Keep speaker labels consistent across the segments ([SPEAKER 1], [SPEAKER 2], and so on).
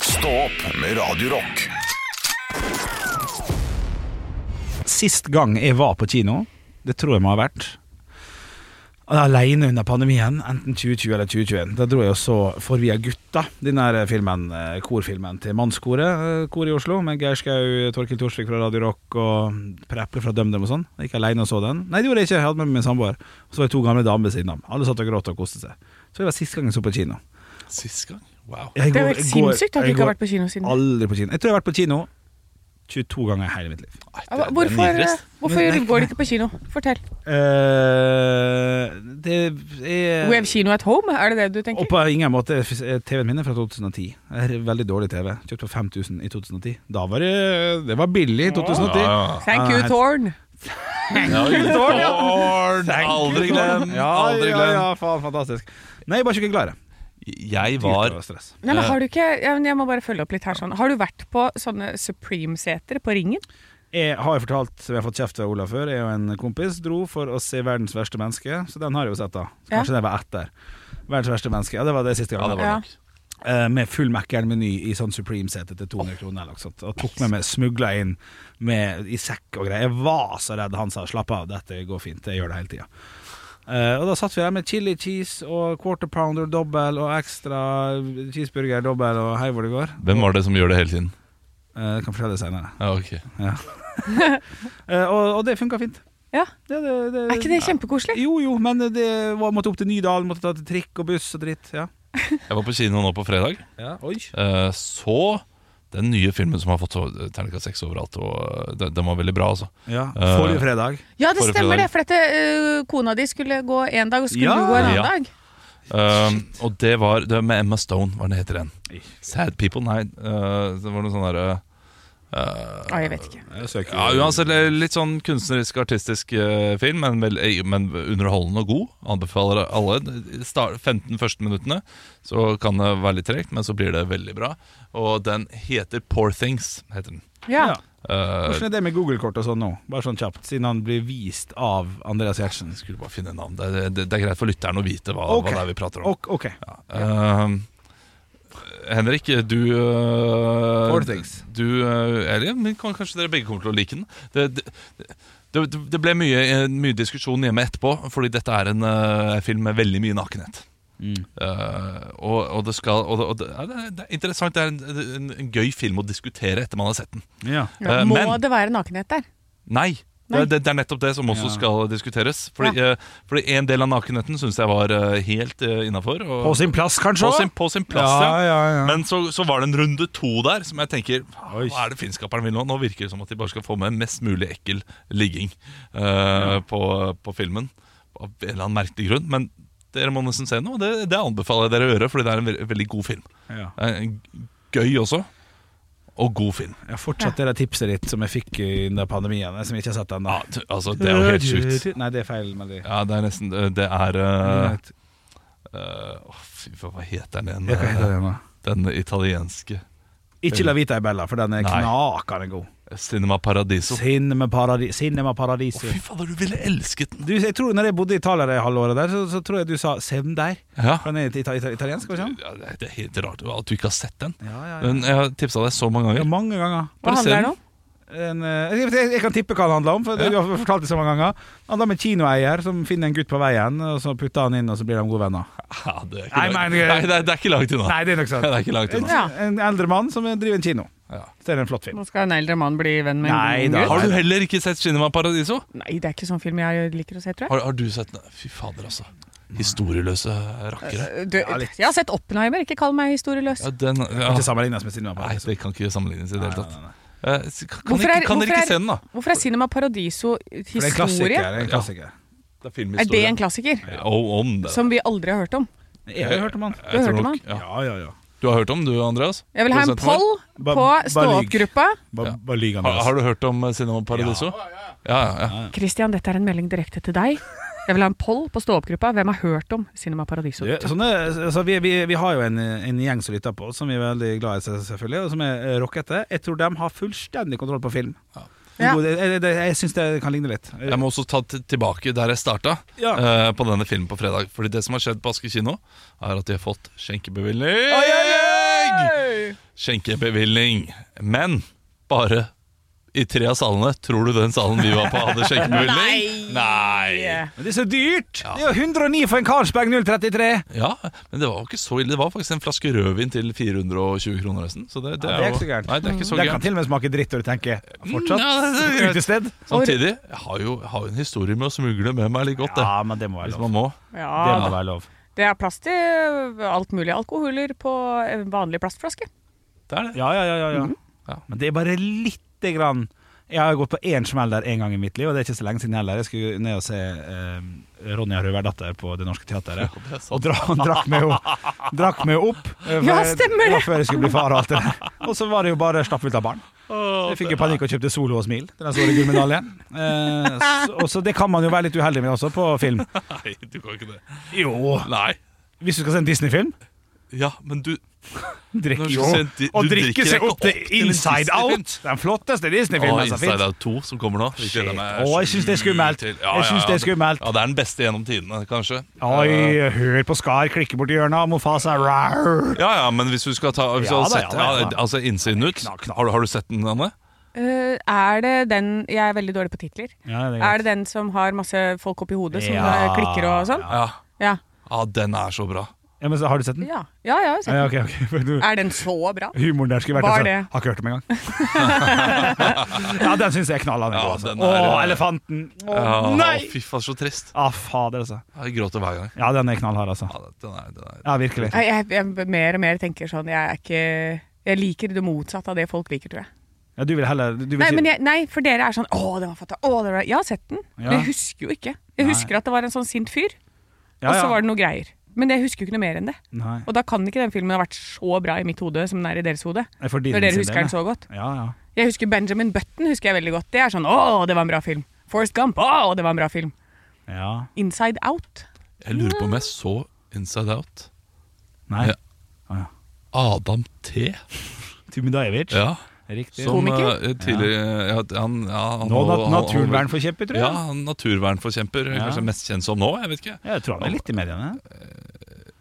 [SPEAKER 1] Stå opp med Radio Rock.
[SPEAKER 2] Sist gang jeg var på kino, det tror jeg må ha vært Alene under pandemien, enten 2020 eller 2021. Da dro jeg og så Forvia gutta, den der filmen, eh, korfilmen til mannskoret eh, kor i Oslo, med Geir Skau, Torkild Torsvik fra Radio Rock og Preple fra DumDum og sånn. Jeg gikk alene og så den. Nei, det gjorde jeg ikke, jeg hadde med meg min samboer. Og så var det to gamle damer ved siden av. Alle satt og gråt og koste seg. Så det var sist gang jeg så på kino.
[SPEAKER 3] Sist gang? Wow.
[SPEAKER 2] Jeg
[SPEAKER 4] Det
[SPEAKER 2] går-
[SPEAKER 4] er jo helt
[SPEAKER 2] jeg går-
[SPEAKER 4] sinnssykt at du
[SPEAKER 2] jeg
[SPEAKER 4] ikke har
[SPEAKER 2] går
[SPEAKER 4] vært på kino siden.
[SPEAKER 2] Aldri på kino. Jeg tror jeg har vært på kino 22 ganger i hele mitt liv.
[SPEAKER 3] Nei, det- det er
[SPEAKER 4] Hvorfor, eh?
[SPEAKER 3] nitrist.
[SPEAKER 2] Men-
[SPEAKER 4] hvorfor går du ikke på kino? Fortell.
[SPEAKER 2] Eh, det er
[SPEAKER 4] We have kino at home, er det det du
[SPEAKER 2] Og
[SPEAKER 4] tenker?
[SPEAKER 2] på ingen måte TV-en min er fra 2010. Det er Veldig dårlig TV. Kjøpt for 5000 i 2010. Da var det Det var billig i 2010.
[SPEAKER 3] Ja,
[SPEAKER 4] Thank you,
[SPEAKER 2] Nei.
[SPEAKER 4] Tårn.
[SPEAKER 3] ja. ja. Tårn! Aldri glem!
[SPEAKER 2] Ja,
[SPEAKER 3] Aldri
[SPEAKER 2] ja,
[SPEAKER 3] glem.
[SPEAKER 2] ja, faen, fantastisk. Nei, jeg bare ikke klare.
[SPEAKER 3] Jeg var
[SPEAKER 2] stress.
[SPEAKER 4] Nei, men har du ikke ja, men Jeg må bare følge opp litt her sånn. Har du vært på sånne Supreme-seter på Ringen?
[SPEAKER 2] Jeg har jo fortalt Vi har fått kjeft av Olav før. Jeg og en kompis dro for å se 'Verdens verste menneske', så den har jeg jo sett, da. Så
[SPEAKER 4] Ja.
[SPEAKER 2] kanskje det var etter. 'Verdens verste menneske'. Ja, det var det siste
[SPEAKER 3] Ja,
[SPEAKER 2] gangen.
[SPEAKER 3] det var
[SPEAKER 4] Ja.
[SPEAKER 3] nok.
[SPEAKER 2] Eh, med full Mækkern-meny i sånn Supreme-sete til 200 kroner. Eller noe sånt, og tok med meg smugla inn med, i sekk og greier. Jeg var så redd. Han sa 'slapp av, dette går fint', jeg gjør det hele tida. Eh, og da satt vi der med chili cheese og quarter pounder dobbel og ekstra cheeseburger dobbel og hei hvor det går.
[SPEAKER 3] Hvem var det som gjør det hele tiden?
[SPEAKER 2] Eh, kan fortelle det seinere.
[SPEAKER 3] Ja, ok
[SPEAKER 2] og, og det funka fint.
[SPEAKER 4] Ja.
[SPEAKER 2] Det, det, det,
[SPEAKER 4] Er ikke det kjempekoselig?
[SPEAKER 2] Jo jo, men det var, måtte opp til Nydalen, måtte ta til trikk og buss og dritt. Ja.
[SPEAKER 3] Jeg var på kino nå på fredag.
[SPEAKER 2] ja oi.
[SPEAKER 3] Eh, Så den nye filmen som har fått så- terningkast seks overalt. Og eh, den, den var veldig bra, altså.
[SPEAKER 2] Ja,
[SPEAKER 3] Eh,
[SPEAKER 2] Forrige fredag.
[SPEAKER 4] Ja, det
[SPEAKER 3] Forrige
[SPEAKER 4] stemmer
[SPEAKER 3] fredag.
[SPEAKER 4] det. For dette, øh, kona di skulle gå én dag, og
[SPEAKER 2] Ja.
[SPEAKER 4] skulle du gå en annen
[SPEAKER 3] Ja.
[SPEAKER 4] dag.
[SPEAKER 3] Eh, og det var det var med Emma Stone, hva er det heter den? Sad People? Nei, eh, det var noe sånn eh, derre
[SPEAKER 4] Å, jeg vet ikke.
[SPEAKER 2] Jeg søker
[SPEAKER 3] Ja, uansett, litt sånn kunstnerisk, artistisk eh, film, men, vel, eh, men underholdende og god. Anbefaler alle. De sta- 15 første minuttene så kan det være litt tregt, men så blir det veldig bra. Og den heter Poor Things. heter den.
[SPEAKER 2] Ja.
[SPEAKER 4] Ja.
[SPEAKER 3] Eh,
[SPEAKER 2] Hvordan er det med Google-kort og sånn nå? Bare sånn kjapt, siden han blir vist av Andreas Gjertsen.
[SPEAKER 3] skulle bare finne navn. Det, det, det er greit for lytteren å vite hva, hva
[SPEAKER 2] Ok.
[SPEAKER 3] det er vi prater om.
[SPEAKER 2] Ok, ok.
[SPEAKER 3] Eh, Ehm, Henrik, du eh,
[SPEAKER 2] Poor Things.
[SPEAKER 3] Du, eh, eller ja, men kan- kanskje dere begge kommer til å like den. Det, det, det, det ble mye, eh, mye diskusjon hjemme etterpå, fordi dette er en eh, film med veldig mye nakenhet. Eh, og, og det skal og, det- og det, ja, det, er, det er interessant. Det er en, en, en gøy film å diskutere etter man har sett den.
[SPEAKER 2] Ja.
[SPEAKER 4] Ja,
[SPEAKER 3] Eh,
[SPEAKER 4] Må
[SPEAKER 3] men-
[SPEAKER 4] det være nakenhet der?
[SPEAKER 3] Nei.
[SPEAKER 4] Nei.
[SPEAKER 3] Det, det er nettopp det som også
[SPEAKER 2] Ja.
[SPEAKER 3] skal diskuteres. Fordi, eh, fordi en del av nakenheten syns jeg var eh, helt uh, innafor.
[SPEAKER 2] På sin plass, kanskje?
[SPEAKER 3] på, sin- på sin plass, ja.
[SPEAKER 2] ja, ja.
[SPEAKER 3] Men så, så var det en runde to der som jeg tenker
[SPEAKER 2] Oi.
[SPEAKER 3] Hva er det filmskaperen vil nå? Nå virker det som at de bare skal få med mest mulig ekkel ligging eh, på, på filmen. Av en eller annen merkelig grunn. Men dere må nesten se den, og det, det anbefaler jeg dere å gjøre, fordi det er en ve veldig god film.
[SPEAKER 2] ja.
[SPEAKER 3] Det er en Gøy også. Og god film.
[SPEAKER 2] Jeg har fortsatt det der tipset ditt som jeg fikk under pandemien, som jeg ikke har sett ennå.
[SPEAKER 3] Ja, t- altså, det er jo helt sjukt.
[SPEAKER 2] Nei, det er feil melodi.
[SPEAKER 3] Ja, det er nesten Det er eh, eh, åh, Fy faen, hva heter den
[SPEAKER 2] Jeg kan hete
[SPEAKER 3] igjen?
[SPEAKER 2] det nå.
[SPEAKER 3] Den italienske.
[SPEAKER 2] Ikke La Vita i Bella, for den er
[SPEAKER 3] Nei.
[SPEAKER 2] knakende god.
[SPEAKER 3] Cinema Paradiso.
[SPEAKER 2] Cinema, paradi Cinema
[SPEAKER 3] Å,
[SPEAKER 2] Paradiso.
[SPEAKER 3] fy fader, du ville elsket den!
[SPEAKER 2] Du, jeg tror når jeg bodde i Italia det halvåret der, så, så tror jeg du sa 'Sevn der'.
[SPEAKER 3] Ja.
[SPEAKER 2] For den er ita ita italiensk, var ikke sant?
[SPEAKER 3] Ja, det det er helt rart at du ikke har sett den.
[SPEAKER 2] Liksom. Ja, ja, ja.
[SPEAKER 3] Den- Jeg har tipsa deg så mange
[SPEAKER 2] ja.
[SPEAKER 3] ganger.
[SPEAKER 2] Mange ganger.
[SPEAKER 4] Hva
[SPEAKER 3] Bare se
[SPEAKER 4] handler
[SPEAKER 3] den.
[SPEAKER 4] det om?
[SPEAKER 2] en, eh, jeg, vet- jeg kan tippe hva det handler om, for det, du har fortalt det så mange ganger. Det handler om en kinoeier som finner en gutt på veien, og så putter han inn, og så blir de gode venner.
[SPEAKER 3] Ja, det, er ikke
[SPEAKER 2] Nei,
[SPEAKER 3] langt-
[SPEAKER 2] men-
[SPEAKER 3] Nei, det, er, det er ikke langt unna.
[SPEAKER 2] Nei, det er nok sant.
[SPEAKER 3] Det er ikke langt
[SPEAKER 2] En,
[SPEAKER 3] unna.
[SPEAKER 4] Ja.
[SPEAKER 2] en eldre mann som driver en kino.
[SPEAKER 3] Ja.
[SPEAKER 2] Det er en flott film.
[SPEAKER 4] Nå skal en eldre mann bli venn med
[SPEAKER 2] Nei,
[SPEAKER 4] en
[SPEAKER 2] da.
[SPEAKER 4] ung gutt?
[SPEAKER 3] Har du heller ikke sett Cinema Paradiso?
[SPEAKER 4] Nei, det er ikke sånn film jeg liker å se, tror jeg.
[SPEAKER 3] Har, har du sett den? Fy fader, altså. Historieløse rakkere.
[SPEAKER 4] Eh, Du, jeg har sett Oppenheimer, ikke kall meg historieløs.
[SPEAKER 3] Ja, den, ja.
[SPEAKER 2] Ikke sammenlignes med Cinema
[SPEAKER 3] Nei,
[SPEAKER 2] Paradiso.
[SPEAKER 3] det kan ikke sammenlignes i det hele
[SPEAKER 2] Nei, nei,
[SPEAKER 3] tatt.
[SPEAKER 2] nei.
[SPEAKER 3] Eh, s- Kan, kan,
[SPEAKER 4] Hvorfor
[SPEAKER 3] dere
[SPEAKER 4] er-
[SPEAKER 3] ikke, kan dere
[SPEAKER 4] hvorfor
[SPEAKER 3] ikke
[SPEAKER 4] er-
[SPEAKER 3] se den, da?
[SPEAKER 4] Hvorfor er Cinema Paradiso
[SPEAKER 2] For det er en klassiker.
[SPEAKER 4] historie?
[SPEAKER 2] det Er en klassiker.
[SPEAKER 3] Det er
[SPEAKER 4] Er det
[SPEAKER 3] filmhistorie.
[SPEAKER 4] en klassiker
[SPEAKER 3] Oh, om det.
[SPEAKER 4] som vi aldri har hørt om?
[SPEAKER 2] Jeg har jo hørt om han.
[SPEAKER 3] Jeg tror
[SPEAKER 4] hørte
[SPEAKER 3] nok-
[SPEAKER 4] man.
[SPEAKER 3] ja.
[SPEAKER 2] Ja, ja, ja.
[SPEAKER 3] Du har hørt om du, Andreas?
[SPEAKER 4] Jeg vil ha en
[SPEAKER 3] Produsenten vår?
[SPEAKER 4] poll
[SPEAKER 2] Ba-
[SPEAKER 4] på
[SPEAKER 2] bare lyg.
[SPEAKER 4] stå-opp-gruppa.
[SPEAKER 2] Bare, bare lyg,
[SPEAKER 3] Har,
[SPEAKER 2] Andreas.
[SPEAKER 3] har du hørt om eh, Cinema Paradiso? Ja, ja, ja.
[SPEAKER 4] Christian, dette er en melding direkte til deg. Jeg vil ha en poll på stå-opp-gruppa. Hvem har hørt om Cinema Paradiso?
[SPEAKER 2] Det- Sånne, altså, vi, vi, vi har jo en, en gjeng som lytter på, oss, som vi er veldig glad i, selv- selvfølgelig, og som er eh, rockete. Jeg tror de har fullstendig kontroll på film.
[SPEAKER 4] Ja.
[SPEAKER 2] Det- Jeg, jeg, jeg syns det kan ligne litt.
[SPEAKER 3] Jeg må også ta t- tilbake der jeg starta,
[SPEAKER 2] Ja.
[SPEAKER 3] eh, på denne filmen på fredag. Fordi det som har skjedd på Aske kino, er at de har fått skjenkebevilgning. skjenkebevilgning. Men bare i tre av salene. Tror du den salen vi var på, hadde skjenkebevilgning? Nei!
[SPEAKER 2] Men det er så dyrt! Det er jo 109 for en Carlsberg 033!
[SPEAKER 3] Ja, men det var jo ikke så ille. Det var faktisk en flaske rødvin til 420 kroner, nesten. Så det, det,
[SPEAKER 2] Ja,
[SPEAKER 3] er,
[SPEAKER 2] det er
[SPEAKER 3] jo-
[SPEAKER 2] ikke så gærent.
[SPEAKER 3] Nei, det er ikke så
[SPEAKER 2] Den kan
[SPEAKER 3] gærent.
[SPEAKER 2] til og med smake dritt, og du tenker fortsatt
[SPEAKER 3] ja, det er greit.
[SPEAKER 2] utested.
[SPEAKER 3] Samtidig, jeg har jo, jeg har jo en historie med å smugle med meg litt godt, det.
[SPEAKER 2] Ja, men det må være
[SPEAKER 3] Hvis
[SPEAKER 2] lov.
[SPEAKER 3] man må.
[SPEAKER 2] Det må
[SPEAKER 4] Ja,
[SPEAKER 2] være lov.
[SPEAKER 4] det er plass til alt mulig alkoholer på en vanlig plastflaske.
[SPEAKER 3] Det er det.
[SPEAKER 2] Ja, ja, ja, ja, ja.
[SPEAKER 3] Mhm. Ja.
[SPEAKER 2] Men det er bare lite grann Jeg har gått på én smell der én gang i mitt liv, og det er ikke så lenge siden heller. Jeg skulle ned og se eh, Ronja Røverdatter på Det Norske Teatret. Og dra, drakk meg jo, drakk meg jo opp. eh, for
[SPEAKER 4] Ja,
[SPEAKER 2] jeg-
[SPEAKER 4] stemmer det.
[SPEAKER 2] var Før jeg skulle bli far og alt det der. Og så var det jo bare stappfullt av barn. Jeg fikk jo panikk og kjøpte solo og smil til den store gullmedaljen. Eh, så, og så det kan man jo være litt uheldig med også, på film.
[SPEAKER 3] Nei, du kan ikke det.
[SPEAKER 2] Jo,
[SPEAKER 3] Nei.
[SPEAKER 2] hvis du skal se en Disney-film,
[SPEAKER 3] Ja, men du
[SPEAKER 2] drikk
[SPEAKER 3] Når du
[SPEAKER 2] jo.
[SPEAKER 3] skal se en di-
[SPEAKER 2] Og
[SPEAKER 3] du
[SPEAKER 2] drikke
[SPEAKER 3] drikker
[SPEAKER 2] seg
[SPEAKER 3] ikke
[SPEAKER 2] opp til
[SPEAKER 3] opp til en
[SPEAKER 2] Inside Out,
[SPEAKER 3] Disney-film.
[SPEAKER 2] den flotteste altså.
[SPEAKER 3] Å,
[SPEAKER 2] Disney-filmen som
[SPEAKER 3] Inside
[SPEAKER 2] finnes.
[SPEAKER 3] Out 2 som kommer nå. Vi
[SPEAKER 2] Shit.
[SPEAKER 3] gleder meg
[SPEAKER 2] Å, jeg syns det er skummelt.
[SPEAKER 3] til-
[SPEAKER 2] Jeg synes det er skummelt.
[SPEAKER 3] Ja, det er den beste gjennom tidene, kanskje. Eh,
[SPEAKER 2] Oi, hør på Skar klikke borti hjørnet, Mofasa rar.
[SPEAKER 3] Ja, ja, men hvis du skal ta hvis
[SPEAKER 2] Ja
[SPEAKER 3] du har
[SPEAKER 2] da,
[SPEAKER 3] sett,
[SPEAKER 2] ja da, ja
[SPEAKER 3] ja,
[SPEAKER 2] da.
[SPEAKER 3] Altså innsiden ut
[SPEAKER 2] Knak, knak.
[SPEAKER 3] har, du- har du sett den, Anne?
[SPEAKER 4] Eh, er det den Jeg er veldig dårlig på titler.
[SPEAKER 2] Ja, det
[SPEAKER 4] Er det den som har masse folk oppi hodet som
[SPEAKER 2] Ja.
[SPEAKER 4] eh, klikker og sånn?
[SPEAKER 3] Ja.
[SPEAKER 4] Ja.
[SPEAKER 3] ja, den er så bra.
[SPEAKER 2] Ja, men så, har du sett den?
[SPEAKER 4] Ja, ja, ja, jeg har sett
[SPEAKER 2] Ja,
[SPEAKER 4] den.
[SPEAKER 2] ok, ok. Men du-
[SPEAKER 4] Er den så bra?
[SPEAKER 2] Humoren der skulle vært
[SPEAKER 4] Var
[SPEAKER 2] altså,
[SPEAKER 4] det?
[SPEAKER 2] Har ikke hørt om engang. ja, den syns jeg knalla ned.
[SPEAKER 3] Ja,
[SPEAKER 2] altså.
[SPEAKER 3] den er-
[SPEAKER 2] Å, elefanten! Å,
[SPEAKER 3] Ja,
[SPEAKER 2] nei!
[SPEAKER 3] Fy faen, så trist.
[SPEAKER 2] Ah, fader, altså.
[SPEAKER 3] Jeg gråter hver gang.
[SPEAKER 2] Ja, den er knallhard, altså.
[SPEAKER 3] Ja, den er, den er.
[SPEAKER 2] Ja, virkelig.
[SPEAKER 4] Nei, Jeg, jeg mer og mer tenker sånn Jeg er ikke Jeg liker det motsatte av det folk liker, tror jeg.
[SPEAKER 2] Ja, du vil heller du vil
[SPEAKER 4] Nei,
[SPEAKER 2] si-
[SPEAKER 4] men jeg, nei for dere er sånn Å, det var fatta. Å, det var Jeg har sett den, men
[SPEAKER 2] Ja.
[SPEAKER 4] jeg husker jo ikke. Jeg husker at det var en sånn sint fyr,
[SPEAKER 2] ja,
[SPEAKER 4] og så var det noe greier. Men jeg husker jo ikke noe mer enn det.
[SPEAKER 2] Nei,
[SPEAKER 4] Og da kan ikke den filmen ha vært så bra i mitt hode som den er i deres hode.
[SPEAKER 2] det er for din
[SPEAKER 4] Når dere
[SPEAKER 2] sin
[SPEAKER 4] husker
[SPEAKER 2] del,
[SPEAKER 4] den så godt.
[SPEAKER 2] Ja, ja.
[SPEAKER 4] Jeg husker Benjamin Button husker jeg veldig godt. Det er sånn Å, det var en bra film. Forrest Gump. Å, det var en bra film.
[SPEAKER 2] ja.
[SPEAKER 4] Inside Out.
[SPEAKER 3] Jeg lurer på om jeg så Inside Out.
[SPEAKER 2] Nei.
[SPEAKER 3] Ja.
[SPEAKER 2] Å, ja.
[SPEAKER 3] Adam T.
[SPEAKER 2] Timidajevic.
[SPEAKER 3] Ja,
[SPEAKER 2] Riktig.
[SPEAKER 3] som
[SPEAKER 4] Komiker?
[SPEAKER 3] eh, tidligere ja, han, ja, han,
[SPEAKER 2] Nå
[SPEAKER 3] han-
[SPEAKER 2] nat
[SPEAKER 3] han-
[SPEAKER 2] naturvernforkjemper, tror jeg.
[SPEAKER 3] Ja, han naturvernforkjemper.
[SPEAKER 2] Ja.
[SPEAKER 3] Kanskje mest kjent som nå, jeg vet ikke.
[SPEAKER 2] Ja, Jeg tror han er litt i mediene.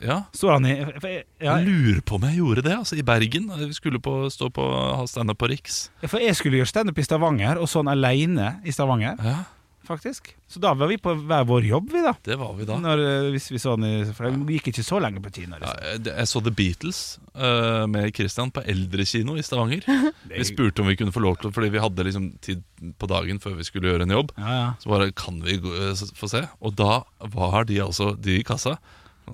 [SPEAKER 3] Ja.
[SPEAKER 2] Står han i for jeg, ja,
[SPEAKER 3] Jeg lurer på om jeg gjorde det, altså, i Bergen. Vi skulle på, stå på ha standup på Riks.
[SPEAKER 2] For jeg skulle gjøre standup i Stavanger, og sånn aleine i Stavanger,
[SPEAKER 3] Ja,
[SPEAKER 2] faktisk. Så da var vi på hver vår jobb, vi, da.
[SPEAKER 3] det var vi da.
[SPEAKER 2] Når, eh, hvis vi så han i, for det gikk ikke så lenge på kino.
[SPEAKER 3] Ja,
[SPEAKER 2] Liksom.
[SPEAKER 3] jeg, jeg så The Beatles eh, med Christian på eldrekino i Stavanger. Vi spurte om vi kunne få lov til fordi vi hadde liksom tid på dagen før vi skulle gjøre en jobb.
[SPEAKER 2] Ja, ja.
[SPEAKER 3] Så bare kan vi gå, eh, s- få se? Og da var de altså, de i kassa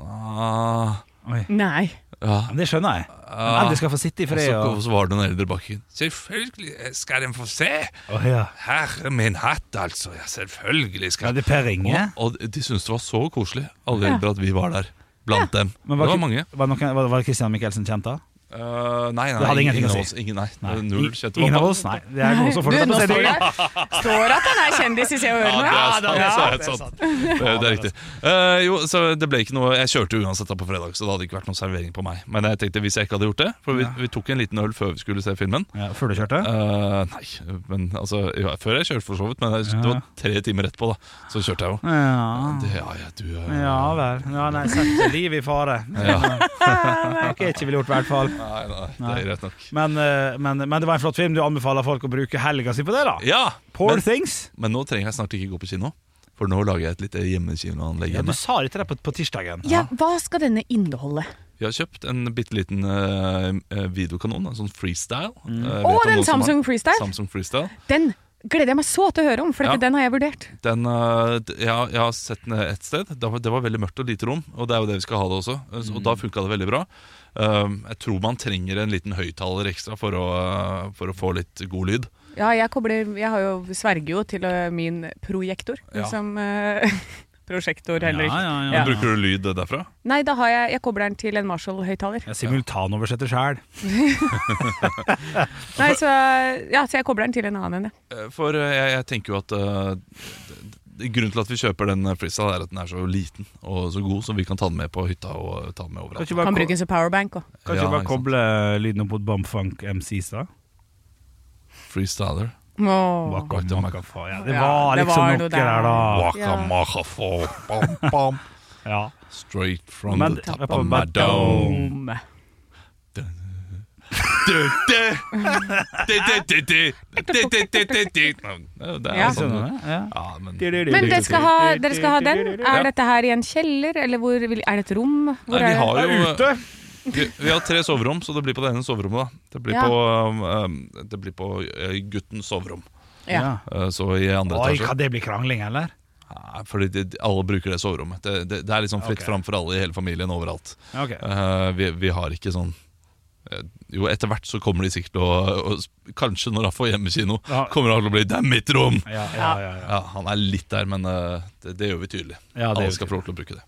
[SPEAKER 3] ah,
[SPEAKER 2] Oi.
[SPEAKER 4] Nei.
[SPEAKER 3] ja,
[SPEAKER 2] Men det skjønner jeg. Men
[SPEAKER 3] ah.
[SPEAKER 2] Alle skal få sitte i
[SPEAKER 3] Og
[SPEAKER 2] fred.
[SPEAKER 3] så,
[SPEAKER 2] Og,
[SPEAKER 3] og så var det en eldre bakken. Selvfølgelig skal de få se!
[SPEAKER 2] Å, ja.
[SPEAKER 3] Herre min hatt, altså. Ja, selvfølgelig
[SPEAKER 2] Ja,
[SPEAKER 3] skal
[SPEAKER 2] det er Per Inge.
[SPEAKER 3] Og, og de syntes det var så koselig, alle de
[SPEAKER 4] Ja.
[SPEAKER 3] eldre, at vi var der. Blant dem.
[SPEAKER 2] Men
[SPEAKER 3] det
[SPEAKER 2] var,
[SPEAKER 3] var mange.
[SPEAKER 2] ikke- var, noen, var, var Christian Michelsen kjent da?
[SPEAKER 3] Eh, nei, nei,
[SPEAKER 2] Det hadde
[SPEAKER 3] ingen,
[SPEAKER 2] ingenting å
[SPEAKER 3] av
[SPEAKER 2] si.
[SPEAKER 3] oss. Ingen, nei,
[SPEAKER 2] Nei.
[SPEAKER 3] Null
[SPEAKER 2] I-
[SPEAKER 3] kjøtt.
[SPEAKER 2] Ingen av oss? Nei. Det er noen som
[SPEAKER 4] Du,
[SPEAKER 2] fortsatt
[SPEAKER 4] nå
[SPEAKER 2] å se
[SPEAKER 4] står
[SPEAKER 2] det.
[SPEAKER 4] det står at han er kjendis i Se og Hør nå.
[SPEAKER 3] Ja, det er sant.
[SPEAKER 2] det er
[SPEAKER 3] sant. Det er, det er riktig. Eh, jo, så det ble ikke noe Jeg kjørte jo uansett da på fredag, så det hadde ikke vært noen servering på meg. Men jeg tenkte hvis jeg ikke hadde gjort det For vi, vi tok en liten øl før vi skulle se filmen.
[SPEAKER 2] Ja, før du kjørte?
[SPEAKER 3] Eh, nei, men altså jo, Før jeg kjørte, for så vidt, men jeg, det var tre timer etterpå, da. Så kjørte jeg jo.
[SPEAKER 2] Ja.
[SPEAKER 3] Det, ja, Ah. ja, du eh,
[SPEAKER 2] Ja vel. Ja, nei, sett livet i fare.
[SPEAKER 3] Ja.
[SPEAKER 2] Det har jeg ikke ville gjort, i hvert fall.
[SPEAKER 3] Nei, nei, det
[SPEAKER 2] Nei.
[SPEAKER 3] er greit nok.
[SPEAKER 2] Men, eh, men, men det var en flott film. Du anbefaler folk å bruke helga si på det, da?
[SPEAKER 3] Ja,
[SPEAKER 2] Poor
[SPEAKER 3] men,
[SPEAKER 2] Things.
[SPEAKER 3] men nå trenger jeg snart ikke gå på kino, for nå lager jeg et lite hjemmekinoanlegg.
[SPEAKER 2] Ja,
[SPEAKER 3] hjemme.
[SPEAKER 2] du sa dette der på, på tirsdagen.
[SPEAKER 4] Ja, hva skal denne inneholde?
[SPEAKER 3] Vi har kjøpt en bitte liten eh, videokanon, en sånn freestyle. Mm.
[SPEAKER 4] Å, den Samsung Freestyle!
[SPEAKER 3] Samsung Freestyle.
[SPEAKER 4] Den gleder jeg meg så til å høre om, for
[SPEAKER 3] Ja.
[SPEAKER 4] den har jeg vurdert.
[SPEAKER 3] Den, eh, d- jeg, har- jeg har sett den et sted. Det var, det var veldig mørkt og lite rom, og det er jo det vi skal ha det også. Eh, så- Og da funka det veldig bra. Um, jeg tror man trenger en liten høyttaler ekstra for å, eh, for å få litt god lyd.
[SPEAKER 4] Ja, jeg kobler Jeg har jo, sverger jo til eh, min projektor,
[SPEAKER 3] Ja.
[SPEAKER 4] som eh, Prosjektor heller ikke.
[SPEAKER 2] ja,
[SPEAKER 4] Ja.
[SPEAKER 3] Bruker du lyd derfra?
[SPEAKER 4] Nei, da har jeg Jeg kobler den til en Marshall-høyttaler.
[SPEAKER 2] Jeg simultanoversetter sjæl.
[SPEAKER 4] Nei, så Ja, så jeg kobler den til en annen enn det.
[SPEAKER 3] Eh, For eh, jeg, jeg tenker jo at eh, d- d- Grunnen til at vi kjøper den eh, freestyle, er at den er så liten og så god, så vi kan ta den med på hytta og ta den med
[SPEAKER 2] Kan
[SPEAKER 3] overalt.
[SPEAKER 2] ikke
[SPEAKER 4] Kan
[SPEAKER 2] bare,
[SPEAKER 4] brukes som powerbank òg.
[SPEAKER 2] kan ikke
[SPEAKER 3] Ja,
[SPEAKER 2] bare
[SPEAKER 3] ikke sant.
[SPEAKER 2] koble eh, lyden opp mot Bumpfunk MCs, da?
[SPEAKER 3] Freestyler.
[SPEAKER 4] Åh.
[SPEAKER 2] Waka,
[SPEAKER 3] Waka,
[SPEAKER 2] waka, fa. Ja, det
[SPEAKER 4] Ja,
[SPEAKER 2] var
[SPEAKER 4] det
[SPEAKER 2] liksom
[SPEAKER 4] var
[SPEAKER 2] noe
[SPEAKER 4] noe
[SPEAKER 2] der,
[SPEAKER 4] der.
[SPEAKER 2] da.
[SPEAKER 3] Waka
[SPEAKER 4] Ja.
[SPEAKER 3] macha fo, bam, bam.
[SPEAKER 2] Ja.
[SPEAKER 3] Straight from
[SPEAKER 2] Men-
[SPEAKER 3] the top
[SPEAKER 2] På
[SPEAKER 3] of my dome.
[SPEAKER 4] Dome.
[SPEAKER 3] Ja,
[SPEAKER 4] Ja.
[SPEAKER 2] Skjønner du det? Ja.
[SPEAKER 3] sånn. Ja, men
[SPEAKER 4] Men dere skal, ha, dere skal ha den? Er dette her i en kjeller, eller hvor, vil- er det et rom?
[SPEAKER 3] Nei,
[SPEAKER 4] Hvor
[SPEAKER 3] vi
[SPEAKER 4] er det?
[SPEAKER 3] har
[SPEAKER 2] Det er
[SPEAKER 3] jo
[SPEAKER 2] ute!
[SPEAKER 3] vi, vi har tre soverom, så det blir på det ene soverommet. da Det blir
[SPEAKER 4] Ja.
[SPEAKER 3] på, um, um, det blir på eh, guttens soverom.
[SPEAKER 4] Ja.
[SPEAKER 2] Ja.
[SPEAKER 3] Eh, Så i andre
[SPEAKER 2] Oi,
[SPEAKER 3] etasje.
[SPEAKER 2] kan det bli krangling, eller?
[SPEAKER 3] Nei, Fordi de, de- alle bruker det soverommet. Det, det, det er liksom fritt
[SPEAKER 2] Ok.
[SPEAKER 3] fram for alle i hele familien overalt.
[SPEAKER 2] Ok.
[SPEAKER 3] Eh, vi, vi har ikke sånn eh, jo, etter hvert så kommer de sikkert til å å sp- Kanskje når han får hjemmekino,
[SPEAKER 2] Ja.
[SPEAKER 3] kommer han til å bli 'Det er mitt rom!'
[SPEAKER 2] Ja, ja, ja, ja.
[SPEAKER 3] Ja, Han er litt der, men eh, det, det gjør vi tydelig.
[SPEAKER 2] Ja, det
[SPEAKER 3] Alle
[SPEAKER 2] gjør
[SPEAKER 3] skal
[SPEAKER 2] vi
[SPEAKER 3] få lov til å bruke det.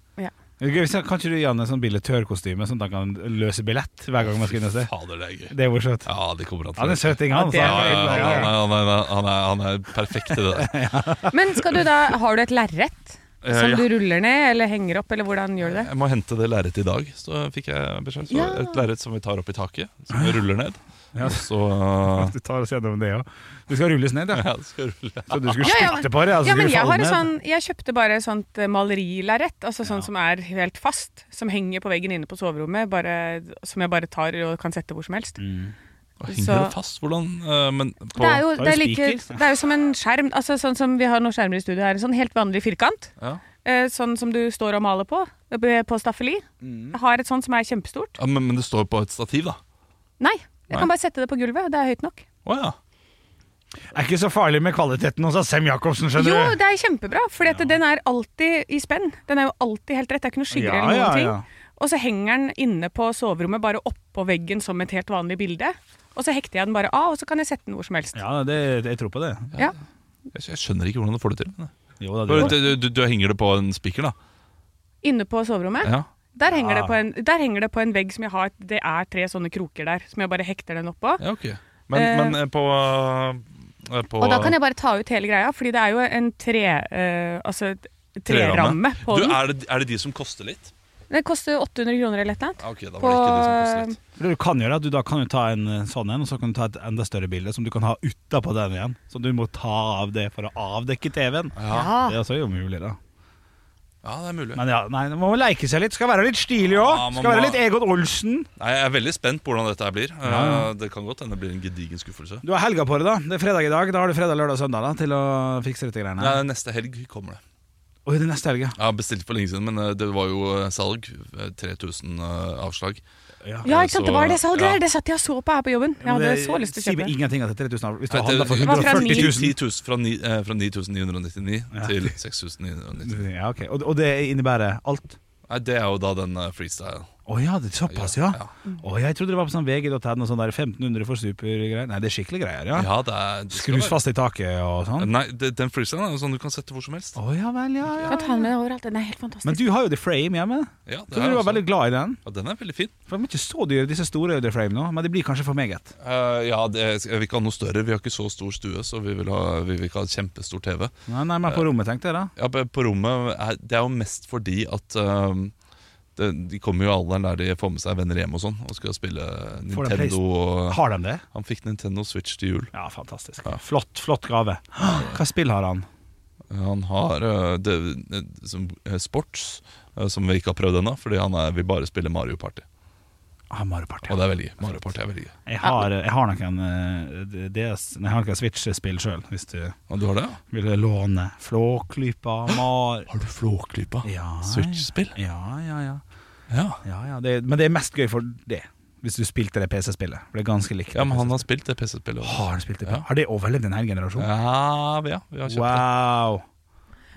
[SPEAKER 2] Ok, hvis jeg- Kan ikke du gi han en sånn billettørkostyme, sånn at han kan løse billett hver gang man skal inn et sted?
[SPEAKER 3] Fader, det er gøy.
[SPEAKER 2] Det er morsomt.
[SPEAKER 3] Ja, det kommer han til.
[SPEAKER 2] Han er
[SPEAKER 3] å-
[SPEAKER 2] søting, han.
[SPEAKER 4] Ja,
[SPEAKER 3] Ja, ja,
[SPEAKER 2] altså.
[SPEAKER 3] ja, han, er, han, er, han, er, han er perfekt i det der.
[SPEAKER 4] Men skal du da, har du et lerret
[SPEAKER 3] Eh,
[SPEAKER 4] som
[SPEAKER 3] ja.
[SPEAKER 4] du ruller ned, eller henger opp, eller hvordan gjør du det?
[SPEAKER 3] Jeg må hente det lerretet i dag, så fikk jeg beskjed. Så
[SPEAKER 4] Ja.
[SPEAKER 3] Et lerret som vi tar opp i taket, som vi ruller ned.
[SPEAKER 2] Ja.
[SPEAKER 3] Og så eh,
[SPEAKER 2] At Du tar oss gjennom det òg. Du skal rulles ned, ja.
[SPEAKER 3] ja, skal vi rulle.
[SPEAKER 2] Så du skulle
[SPEAKER 4] Ja, ja,
[SPEAKER 2] spytte på det? Altså,
[SPEAKER 4] Ja, men
[SPEAKER 2] skulle
[SPEAKER 4] jeg,
[SPEAKER 2] falle
[SPEAKER 4] har et
[SPEAKER 2] ned.
[SPEAKER 4] sånn, jeg kjøpte bare et sånt eh, malerilerret, altså sånn som er helt fast, som henger på veggen inne på soverommet, bare, som jeg bare tar og kan sette hvor som
[SPEAKER 2] Mm.
[SPEAKER 4] helst.
[SPEAKER 3] Og Henger
[SPEAKER 4] Så-
[SPEAKER 3] det fast? Hvordan? Eh, Men på,
[SPEAKER 4] Det er jo,
[SPEAKER 2] Da er
[SPEAKER 4] det er
[SPEAKER 2] det
[SPEAKER 4] like,
[SPEAKER 2] spiker.
[SPEAKER 4] det er jo som en skjerm, altså sånn som vi har noen skjermer i studio her, en sånn helt vanlig firkant,
[SPEAKER 3] ja.
[SPEAKER 4] eh, sånn som du står og maler på, eh, på staffeli.
[SPEAKER 2] Mm.
[SPEAKER 4] Jeg har et sånt som er kjempestort.
[SPEAKER 3] Ja, men, men det står på et stativ, da.
[SPEAKER 4] Nei, jeg
[SPEAKER 3] Nei.
[SPEAKER 4] kan bare sette det på gulvet, det er høyt nok.
[SPEAKER 3] Å ja.
[SPEAKER 2] Er ikke så farlig med kvaliteten hos Sem Jacobsen, skjønner
[SPEAKER 4] Jo,
[SPEAKER 2] du.
[SPEAKER 4] det er kjempebra, for den er alltid i spenn. Den er jo alltid helt rett, det er ikke noe
[SPEAKER 2] Ja,
[SPEAKER 4] skygger eller noen
[SPEAKER 2] ja,
[SPEAKER 4] ting.
[SPEAKER 2] ja.
[SPEAKER 4] Og så henger den inne på soverommet, bare oppå veggen som et helt vanlig bilde. Og så hekter jeg den bare av, og så kan jeg sette den hvor som helst.
[SPEAKER 2] Ja, det, jeg tror på det.
[SPEAKER 4] Ja.
[SPEAKER 3] Jeg, jeg skjønner ikke hvordan du får det til. Men.
[SPEAKER 2] Jo da,
[SPEAKER 3] Du,
[SPEAKER 2] det.
[SPEAKER 3] du, du, du henger det på en spiker, da?
[SPEAKER 4] Inne på soverommet.
[SPEAKER 3] Ja.
[SPEAKER 4] Der, henger
[SPEAKER 2] Ja.
[SPEAKER 4] det på en, der henger det på en vegg som jeg har Det er tre sånne kroker der, som jeg bare hekter den oppå.
[SPEAKER 3] ja, ok. Men,
[SPEAKER 4] Eh.
[SPEAKER 3] men eh, på, eh, på
[SPEAKER 4] Og da kan jeg bare ta ut hele greia, fordi det er jo en tre... eh, altså et treramme på
[SPEAKER 3] du,
[SPEAKER 4] den.
[SPEAKER 3] er, det, er det de som koster litt?
[SPEAKER 4] Den koster 800 kroner eller et eller annet.
[SPEAKER 3] Ja, ok, da var
[SPEAKER 4] På- eh,
[SPEAKER 3] det ikke de som koster litt.
[SPEAKER 2] Det du kan gjøre, er at du da kan jo ta en eh, sånn en, og så kan du ta et enda større bilde som du kan ha utapå den igjen. Så du må ta av det for å avdekke TV-en.
[SPEAKER 3] Ja.
[SPEAKER 2] Det er også jo mulig, da.
[SPEAKER 3] ja, det er mulig.
[SPEAKER 2] Men ja, nei, man må leke seg litt. Skal være litt stilig òg.
[SPEAKER 3] Ja, man
[SPEAKER 2] Skal være
[SPEAKER 3] må-
[SPEAKER 2] litt Egon Olsen.
[SPEAKER 3] Nei, Jeg er veldig spent på hvordan dette her blir.
[SPEAKER 2] Ja.
[SPEAKER 3] Eh, Det kan godt hende det blir en gedigen skuffelse.
[SPEAKER 2] Du har helga på det, da. Det er fredag i dag. Da har du fredag, lørdag og søndag da, til å fikse dette greiene.
[SPEAKER 3] Nei, neste helg kommer det.
[SPEAKER 2] Oi, det er neste helg, ja.
[SPEAKER 3] Jeg har bestilt for lenge siden, men eh, det var jo eh, salg. Eh, 3000 eh, avslag.
[SPEAKER 4] Ja, ikke sant, det var det salget
[SPEAKER 3] Ja.
[SPEAKER 4] der! Det satt jeg og så på her på jobben. Jeg
[SPEAKER 2] Men
[SPEAKER 4] hadde
[SPEAKER 2] det
[SPEAKER 4] så lyst til å
[SPEAKER 2] sier meg
[SPEAKER 4] kjøpe det.
[SPEAKER 2] ingenting at det er 3000 av- Hvis du
[SPEAKER 3] Nei,
[SPEAKER 2] handler for
[SPEAKER 3] det-
[SPEAKER 4] det var fra
[SPEAKER 2] 140
[SPEAKER 4] ni-
[SPEAKER 2] 000
[SPEAKER 3] 10 000 fra, ni, eh, fra 9999
[SPEAKER 2] Ja.
[SPEAKER 3] til 6999.
[SPEAKER 2] ja, ok. og, og det innebærer alt?
[SPEAKER 3] Nei, det er jo da den eh, freestyle.
[SPEAKER 2] Å ja, det er såpass, ja. Å, jeg trodde det var på sånn vg.no, sånn der 1500 for supergreier. Nei, det er skikkelig greier, ja.
[SPEAKER 3] Ja, det er det skal
[SPEAKER 2] Skrus
[SPEAKER 3] være-
[SPEAKER 2] fast i taket og sånn.
[SPEAKER 3] Nei, det, den freestylen er jo sånn du kan sette hvor som helst.
[SPEAKER 2] Å ja vel, ja, ja.
[SPEAKER 4] Kan ta den med deg overalt. Den er helt fantastisk.
[SPEAKER 2] Men du har jo The Frame hjemme.
[SPEAKER 3] Ja, altså. det
[SPEAKER 2] Så
[SPEAKER 3] er
[SPEAKER 2] du var
[SPEAKER 3] også-
[SPEAKER 2] veldig glad i den.
[SPEAKER 3] ja, den er veldig fin.
[SPEAKER 2] For De er ikke så dyre, disse store The Frame nå, men de blir kanskje for meget.
[SPEAKER 3] Eh, ja, det, jeg vil ikke ha noe større. Vi har ikke så stor stue, så vi vil, ha, vi vil ikke ha et kjempestor TV.
[SPEAKER 2] Nei, nei, men på rommet, tenkte jeg da.
[SPEAKER 3] Ja, på på rommet er, Det er jo mest fordi at ehm, det, De kommer jo i alderen der de får med seg venner hjem og sånn og skal spille
[SPEAKER 2] Får de
[SPEAKER 3] Nintendo. Og,
[SPEAKER 2] Har de det?
[SPEAKER 3] han fikk Nintendo Switch til jul.
[SPEAKER 2] Ja, fantastisk.
[SPEAKER 3] Ja.
[SPEAKER 2] Flott, flott gave. Hva spill har han?
[SPEAKER 3] Han har eh, det, eh, som, eh, sports, eh, som vi ikke har prøvd ennå, fordi han er, vil bare spille Mario Party.
[SPEAKER 2] Ah, Mario Party.
[SPEAKER 3] Og det er veldig gøy. Mario Party er veldig gøy.
[SPEAKER 2] Jeg har, jeg har noen eh, DS Nei, jeg har noen Switch-spill sjøl, hvis du
[SPEAKER 3] Og du har det, ja?
[SPEAKER 2] vil låne. Flåklypa, Mar...
[SPEAKER 3] Har du Flåklypa?
[SPEAKER 2] Ja,
[SPEAKER 3] Switch-spill?
[SPEAKER 2] Ja, ja, ja.
[SPEAKER 3] Ja.
[SPEAKER 2] ja, ja det, men det er mest gøy for det, hvis du spilte det PC-spillet. For det er ganske likt.
[SPEAKER 3] ja, men han har spilt det PC-spillet. også.
[SPEAKER 2] Har han spilt det?
[SPEAKER 3] Ja.
[SPEAKER 2] Har det overlevd en hel generasjon?
[SPEAKER 3] Ja, vi- ja, vi har kjøpt
[SPEAKER 2] wow!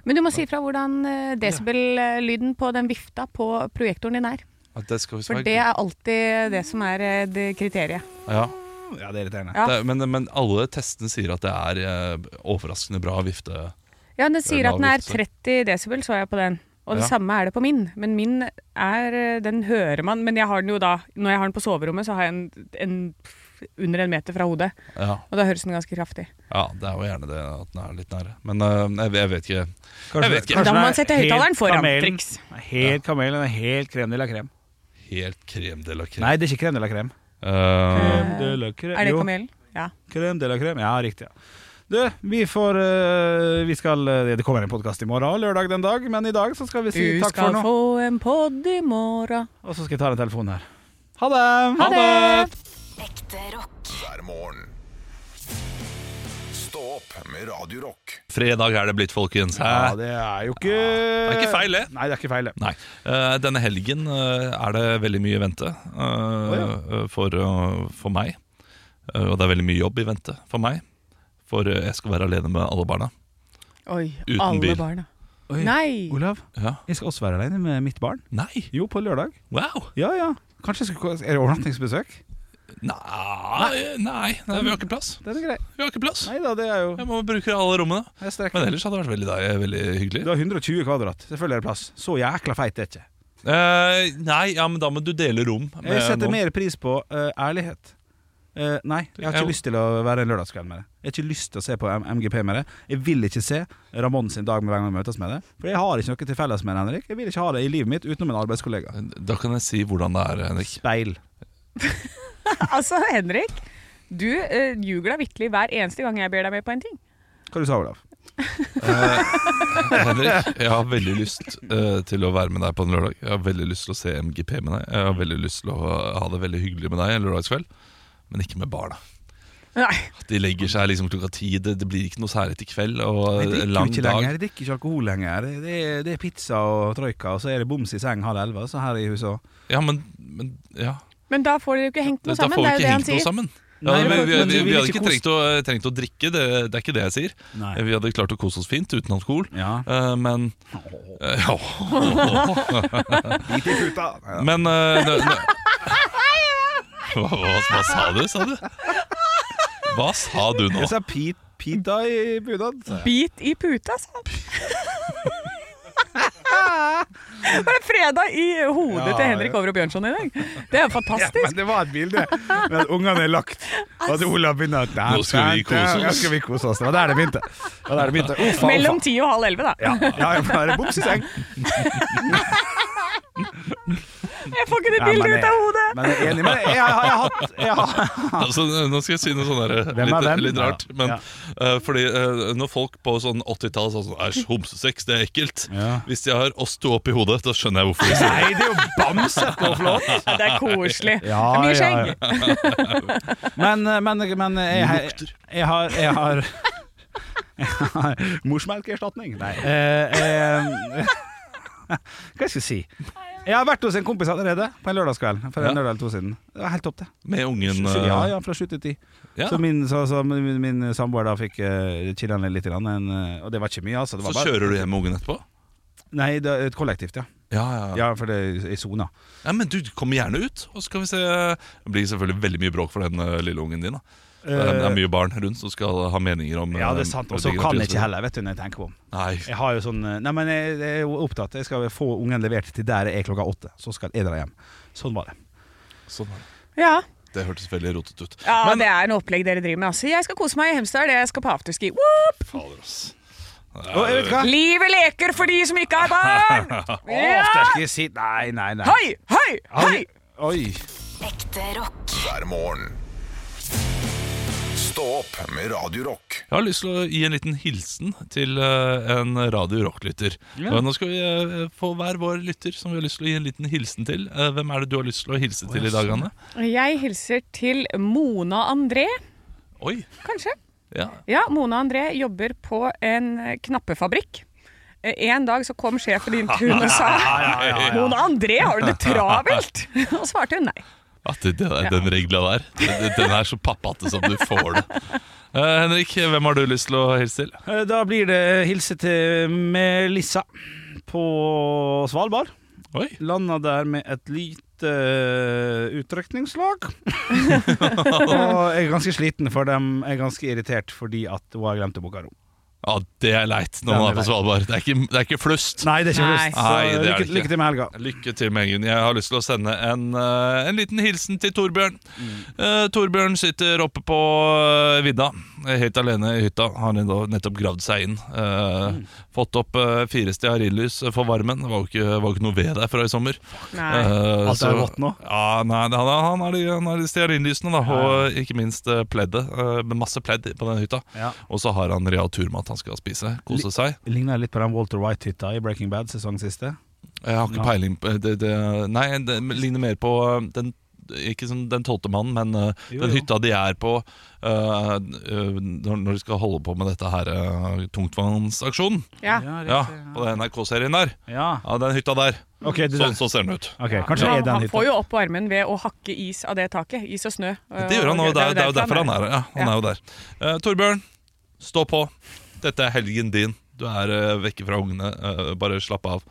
[SPEAKER 4] Men du må si ifra hvordan eh, desibel-lyden på den vifta på projektoren din er.
[SPEAKER 3] det. Ja, det skal vi
[SPEAKER 4] For
[SPEAKER 3] svare-
[SPEAKER 4] det er alltid det som er eh, det kriteriet.
[SPEAKER 3] ja.
[SPEAKER 2] Ja, det er irriterende.
[SPEAKER 4] Ja.
[SPEAKER 3] Det, er- men, men alle testene sier at det er eh, overraskende bra vifte.
[SPEAKER 4] Ja, den sier at den er
[SPEAKER 3] Lavvift,
[SPEAKER 4] 30 desibel, så jeg på den. Og det
[SPEAKER 3] Ja.
[SPEAKER 4] samme er det på min. Men min er eh, Den hører man. Men jeg har den jo da Når jeg har den på soverommet, så har jeg den en, under en meter fra hodet.
[SPEAKER 3] Ja,
[SPEAKER 4] Og da høres den ganske kraftig.
[SPEAKER 3] ja det er jo gjerne det at den er litt nære. Men eh, jeg, jeg vet ikke.
[SPEAKER 2] Kanskje-
[SPEAKER 3] Jeg vet ikke.
[SPEAKER 2] kanskje
[SPEAKER 4] Da må
[SPEAKER 2] det er
[SPEAKER 4] man sette
[SPEAKER 2] helt
[SPEAKER 4] høyttaleren foran,
[SPEAKER 2] kamelen.
[SPEAKER 4] triks.
[SPEAKER 2] Helt kamelen og helt krem de la krem.
[SPEAKER 3] Helt krem de la krem.
[SPEAKER 2] Nei, det er ikke krem de la krem.
[SPEAKER 3] Eh,
[SPEAKER 2] Crème de la crème.
[SPEAKER 4] Er det
[SPEAKER 2] Jo,
[SPEAKER 4] kamelen? Ja.
[SPEAKER 2] crème de la crème. Ja, riktig. Ja. Du, vi får eh, Vi skal eh, Det kommer en podkast i morgen og lørdag den dag, men i dag så skal vi
[SPEAKER 4] Du
[SPEAKER 2] si takk for
[SPEAKER 4] skal
[SPEAKER 2] nå.
[SPEAKER 4] få en pod i morgen.
[SPEAKER 2] Og så skal jeg ta den telefonen her. Ha det!
[SPEAKER 4] Ha det!
[SPEAKER 5] Ekte rock.
[SPEAKER 1] hver morgen. Stå opp med Radio Rock.
[SPEAKER 3] Fredag er det blitt, folkens.
[SPEAKER 2] Ja,
[SPEAKER 3] Hæ?
[SPEAKER 2] det er jo ikke
[SPEAKER 3] Det er ikke feil, det.
[SPEAKER 2] Nei, Ah. det er ikke feil, det.
[SPEAKER 3] Nei. Eh, denne helgen eh, er det veldig mye i vente eh, eh, for, eh, for meg. Eh, og det er veldig mye jobb i vente for meg. For eh, jeg skal være alene med alle barna.
[SPEAKER 4] Oi,
[SPEAKER 3] Uten
[SPEAKER 4] alle
[SPEAKER 3] bil.
[SPEAKER 4] barna.
[SPEAKER 2] Oi,
[SPEAKER 4] Nei!
[SPEAKER 2] Olav,
[SPEAKER 3] Ja.
[SPEAKER 2] jeg skal også være alene med mitt barn.
[SPEAKER 3] Nei!
[SPEAKER 2] Jo, på lørdag.
[SPEAKER 3] Wow!
[SPEAKER 2] Ja, ja. Kanskje jeg skal, Er det overnattingsbesøk?
[SPEAKER 3] Nei, nei, nei vi har ikke plass.
[SPEAKER 2] Det er det greit.
[SPEAKER 3] Vi har ikke plass.
[SPEAKER 2] Nei da, det er jo
[SPEAKER 3] Jeg må bruke alle rommene.
[SPEAKER 2] det er strekk.
[SPEAKER 3] Men ellers hadde det vært veldig, deilig, veldig hyggelig.
[SPEAKER 2] Du har 120 kvadrat. Selvfølgelig er det plass. Så jækla feit er det ikke.
[SPEAKER 3] Eh, nei, ja, men da må du dele rom. med
[SPEAKER 2] Jeg setter
[SPEAKER 3] noen.
[SPEAKER 2] mer pris på eh, ærlighet. Eh, nei, jeg har
[SPEAKER 3] Ja.
[SPEAKER 2] ikke lyst til å være en lørdagskveld med det. Jeg har ikke lyst til å se på M MGP med det. Jeg vil ikke se Ramón sin dag med hver gang vi møtes med det. For jeg har ikke noe til felles med det, Henrik. Jeg vil ikke ha det i livet mitt utenom en arbeidskollega.
[SPEAKER 3] Da kan jeg si hvordan det er, Henrik.
[SPEAKER 2] Speil.
[SPEAKER 4] Altså, Henrik, du uh, ljuger da vitterlig hver eneste gang jeg ber deg med på en ting.
[SPEAKER 2] Hva du sa du, Olav?
[SPEAKER 3] Henrik, jeg har veldig lyst eh, til å være med deg på en lørdag. Jeg har veldig lyst til å se MGP med deg. Jeg har veldig lyst til å ha det veldig hyggelig med deg en lørdagskveld, men ikke med barna.
[SPEAKER 4] Nei,
[SPEAKER 3] De legger seg liksom klokka ti. Det, det blir ikke noe særlig til kveld og
[SPEAKER 2] Jeg drikker jo
[SPEAKER 3] lang
[SPEAKER 2] ikke
[SPEAKER 3] dag.
[SPEAKER 2] lenger. Jeg drikker ikke alkohol lenger. Det- Det er, det er pizza og troika, og så er det boms i seng halv elleve. Så her i huset òg.
[SPEAKER 3] Ja, men, men ja.
[SPEAKER 4] Men da får dere jo ikke hengt
[SPEAKER 3] Da
[SPEAKER 4] noe
[SPEAKER 3] får
[SPEAKER 4] sammen.
[SPEAKER 3] vi
[SPEAKER 4] Det er jo
[SPEAKER 3] ikke
[SPEAKER 4] det han
[SPEAKER 3] hengt noe
[SPEAKER 4] sier.
[SPEAKER 3] sammen. Ja,
[SPEAKER 2] Nei,
[SPEAKER 3] men,
[SPEAKER 2] men-
[SPEAKER 3] vi,
[SPEAKER 2] men
[SPEAKER 3] vi,
[SPEAKER 2] vi
[SPEAKER 3] vi
[SPEAKER 2] vil
[SPEAKER 3] hadde
[SPEAKER 2] ikke
[SPEAKER 3] ikke trengt å, trengt å drikke, det, det er ikke det jeg sier.
[SPEAKER 2] Nei.
[SPEAKER 3] Vi hadde klart å kose oss fint uten alkohol.
[SPEAKER 2] Ja.
[SPEAKER 3] Eh, men eh, ja.
[SPEAKER 2] Bit i puta. Nei, da.
[SPEAKER 3] Men eh, nå- nå- hva, hva, hva sa du, sa du? Hva sa du nå?
[SPEAKER 2] Jeg sa pit, pita i bunad. sa jeg.
[SPEAKER 4] Bit i puta, sa han. Det er fredag i hodet
[SPEAKER 2] Ja,
[SPEAKER 4] til Henrik
[SPEAKER 2] ja.
[SPEAKER 4] Over og Bjørnson i dag. Det er jo fantastisk.
[SPEAKER 2] Men det var et bilde med at ungene er lagt, og at Olav begynner å
[SPEAKER 3] Nå skal vi kose oss.
[SPEAKER 2] Nå skal vi kose oss. Det var der det begynte. Det var der det begynte. Å, faen,
[SPEAKER 4] Mellom
[SPEAKER 2] faen.
[SPEAKER 4] ti og halv elleve, da.
[SPEAKER 2] Ja, ja, jeg får være boms i seng.
[SPEAKER 4] Jeg får ikke det
[SPEAKER 2] Ja, men
[SPEAKER 4] bildet
[SPEAKER 2] jeg-
[SPEAKER 4] ut av hodet!
[SPEAKER 2] Men jeg er enig med deg. Jeg har, jeg har hatt jeg har,
[SPEAKER 3] Altså, nå skal jeg si noe sånn der,
[SPEAKER 2] Hvem er
[SPEAKER 3] litt,
[SPEAKER 2] hvem?
[SPEAKER 3] litt rart.
[SPEAKER 2] Ja.
[SPEAKER 3] Men,
[SPEAKER 2] Ja.
[SPEAKER 3] eh, fordi eh, Når folk på sånn 80-tallet sa sånn Æsj, homsesex, det er ekkelt.
[SPEAKER 2] Ja.
[SPEAKER 3] Hvis de har oss to opp i hodet, da skjønner jeg hvorfor de sier det.
[SPEAKER 2] Nei, det er jo bamse på flott.
[SPEAKER 4] Ja, det er koselig.
[SPEAKER 2] Ja,
[SPEAKER 4] Mye skjegg.
[SPEAKER 2] ja, Men, eh, men, men jeg, jeg, jeg har Jeg har, jeg har Morsmelkerstatning? Nei. Eh, eh, hva skal jeg si? Jeg har vært hos en kompis allerede på en lørdagskveld for en
[SPEAKER 3] Ja.
[SPEAKER 2] lørdag eller to siden. Det var helt topp, det.
[SPEAKER 3] Med ungen eh,
[SPEAKER 2] Ja, ja, fra sju til ti.
[SPEAKER 3] ja.
[SPEAKER 2] Så min, så, så min, min samboer da fikk uh, chilla ned litt, grann, en, eh, og det var ikke mye. Altså, det
[SPEAKER 3] Så
[SPEAKER 2] var bare,
[SPEAKER 3] kjører du hjem med ungen etterpå?
[SPEAKER 2] nei, det er et kollektivt, ja.
[SPEAKER 3] Ja, ja, ja.
[SPEAKER 2] Ja, for det er i sona.
[SPEAKER 3] Nei, men du kommer gjerne ut, og så kan vi se Det blir selvfølgelig veldig mye bråk for den eh, lille ungen din. da Det er, det er mye barn rundt som skal ha meninger om
[SPEAKER 2] Eh, Ja,
[SPEAKER 3] eh,
[SPEAKER 2] det er sant. Og så
[SPEAKER 3] ulike
[SPEAKER 2] kan jeg
[SPEAKER 3] gratiser.
[SPEAKER 2] ikke heller, vet du, når jeg tenker på om.
[SPEAKER 3] Nei,
[SPEAKER 2] Jeg har jo sånn eh, Nei, men jeg, jeg er jo opptatt. Jeg skal få ungen levert til der jeg er klokka åtte. Så skal jeg dra hjem. Sånn var det.
[SPEAKER 3] sånn er det.
[SPEAKER 4] Ja,
[SPEAKER 3] Det hørtes veldig rotete ut.
[SPEAKER 4] ja
[SPEAKER 3] Men-
[SPEAKER 4] det er en opplegg dere driver med. Altså. Jeg skal kose meg i Hemsedal, jeg skal på afterski. Whoop!
[SPEAKER 3] Fader, ass.
[SPEAKER 2] Og jeg vet hva?
[SPEAKER 4] Livet leker for de som ikke har barn! Ja!
[SPEAKER 2] Afterski sit Nei, nei, nei.
[SPEAKER 4] Hei, hei, hei!
[SPEAKER 2] Oi.
[SPEAKER 5] Ekte rock.
[SPEAKER 1] hver morgen. Stå opp med Radio Rock
[SPEAKER 3] Jeg har lyst til å gi en liten hilsen til eh, en Radio Rock-lytter.
[SPEAKER 2] Ja.
[SPEAKER 3] Og Nå skal vi eh, få hver vår lytter som vi har lyst til å gi en liten hilsen til. Eh, Hvem er det du har lyst til å sånn, hilse til i dag, Anne?
[SPEAKER 4] Jeg hilser til Mona André,
[SPEAKER 3] Oi,
[SPEAKER 4] kanskje.
[SPEAKER 3] ja.
[SPEAKER 4] Ja, Mona André jobber på en eh, knappefabrikk. Eh, En dag så kom sjefen din til hun og sa Mona André, har du det travelt? Og svarte hun nei.
[SPEAKER 3] At det, det, den regla der, den, den er så pappate som du får det. Eh, Henrik, hvem har du lyst til å hilse til?
[SPEAKER 2] Eh, Da blir det hilse til Melissa på Svalbard.
[SPEAKER 3] Oi,
[SPEAKER 2] Landa der med et lite eh, utrykningslag. og jeg er ganske sliten, for dem er ganske irritert fordi at hun har glemt å booke rom.
[SPEAKER 3] ja, det er leit når man
[SPEAKER 2] Den er
[SPEAKER 3] er på
[SPEAKER 2] leit.
[SPEAKER 3] Svalbard. Det er ikke, det er ikke flust.
[SPEAKER 2] Nei, det er ikke
[SPEAKER 4] Nei.
[SPEAKER 2] lyst. Så
[SPEAKER 3] Nei, det er det
[SPEAKER 2] lykke,
[SPEAKER 3] ikke.
[SPEAKER 2] lykke til med helga.
[SPEAKER 3] Lykke til med Gunn. Jeg har lyst til å sende en, eh, en liten hilsen til Torbjørn.
[SPEAKER 2] Mm.
[SPEAKER 3] Eh, Torbjørn sitter oppe på eh, vidda, helt alene i hytta. Han har nå nettopp gravd seg inn. eh,
[SPEAKER 2] Mm.
[SPEAKER 3] Fått opp uh, fire stearinlys for varmen. Det var jo ikke, var jo ikke noe ved der fra i sommer.
[SPEAKER 4] Nei.
[SPEAKER 3] Eh,
[SPEAKER 2] Alt
[SPEAKER 3] så-
[SPEAKER 2] er vått nå.
[SPEAKER 3] Ja, nei, det- han, har- han har de, han har de stearinlysene, da. Og ikke minst eh, pleddet. eh, med masse pledd på den hytta.
[SPEAKER 2] Ja.
[SPEAKER 3] Og så har han real turmat han skal spise. Kose seg.
[SPEAKER 2] Ligner litt på den Walter White-hytta i Breaking Bad sesong siste.
[SPEAKER 3] Jeg har ikke
[SPEAKER 2] Ja.
[SPEAKER 3] peiling på det, det, Nei, det ligner mer på den Ikke sånn den tolvte mannen, men eh,
[SPEAKER 2] Jo,
[SPEAKER 3] den
[SPEAKER 2] jo.
[SPEAKER 3] hytta de er på eh, eh, når, når de skal holde på med dette her eh, tungtvannsaksjonen.
[SPEAKER 4] Ja.
[SPEAKER 3] Ja, på den NRK-serien der.
[SPEAKER 2] Ja.
[SPEAKER 3] Ja, Den hytta der.
[SPEAKER 2] Ok, det der.
[SPEAKER 3] Sånn så ser den ut.
[SPEAKER 2] Ok, kanskje det
[SPEAKER 4] han,
[SPEAKER 2] er den
[SPEAKER 4] han får
[SPEAKER 2] hytta.
[SPEAKER 4] jo opp armen ved å hakke is av det taket. Is og snø.
[SPEAKER 3] Det gjør han, og det er, det er jo derfor han er her. Ja, han
[SPEAKER 4] Ja.
[SPEAKER 3] er jo der. Eh, Torbjørn, stå på. Dette er helgen din. Du er eh, vekke fra ungene. Eh, bare slapp av.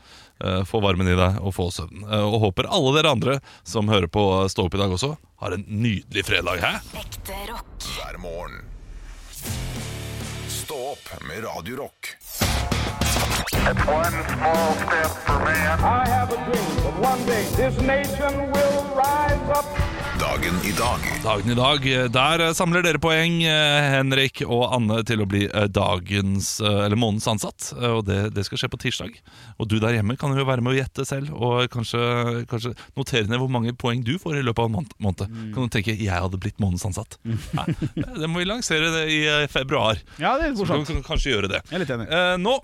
[SPEAKER 3] Eh, få varmen i deg og få søvn. Eh, og håper alle dere andre som hører på eh, Stå opp i dag også, har en nydelig fredag. Hæ?
[SPEAKER 5] Ekte rock.
[SPEAKER 1] hver morgen. Stå opp med Radio Rock.
[SPEAKER 6] One small step for man.
[SPEAKER 7] I have a dream that one day this nation will rise up.
[SPEAKER 1] Dagen i dag
[SPEAKER 3] Dagen i dag, eh, der eh, samler dere poeng, eh, Henrik og Anne, til å bli eh, dagens, eh, eller månedens ansatt. Eh, Og det, det skal skje på tirsdag. Og du der hjemme kan jo være med å gjette selv, og kanskje, kanskje notere ned hvor mange poeng du får i løpet av en måned. måned.
[SPEAKER 2] Mm.
[SPEAKER 3] Kan du tenke 'jeg hadde blitt månedens ansatt'? Ja, det må vi lansere det i eh, februar.
[SPEAKER 2] Ja, det er
[SPEAKER 3] Så kan
[SPEAKER 2] morsomt.
[SPEAKER 3] vi kan kanskje gjøre det.
[SPEAKER 2] Jeg er litt enig.
[SPEAKER 3] Eh, nå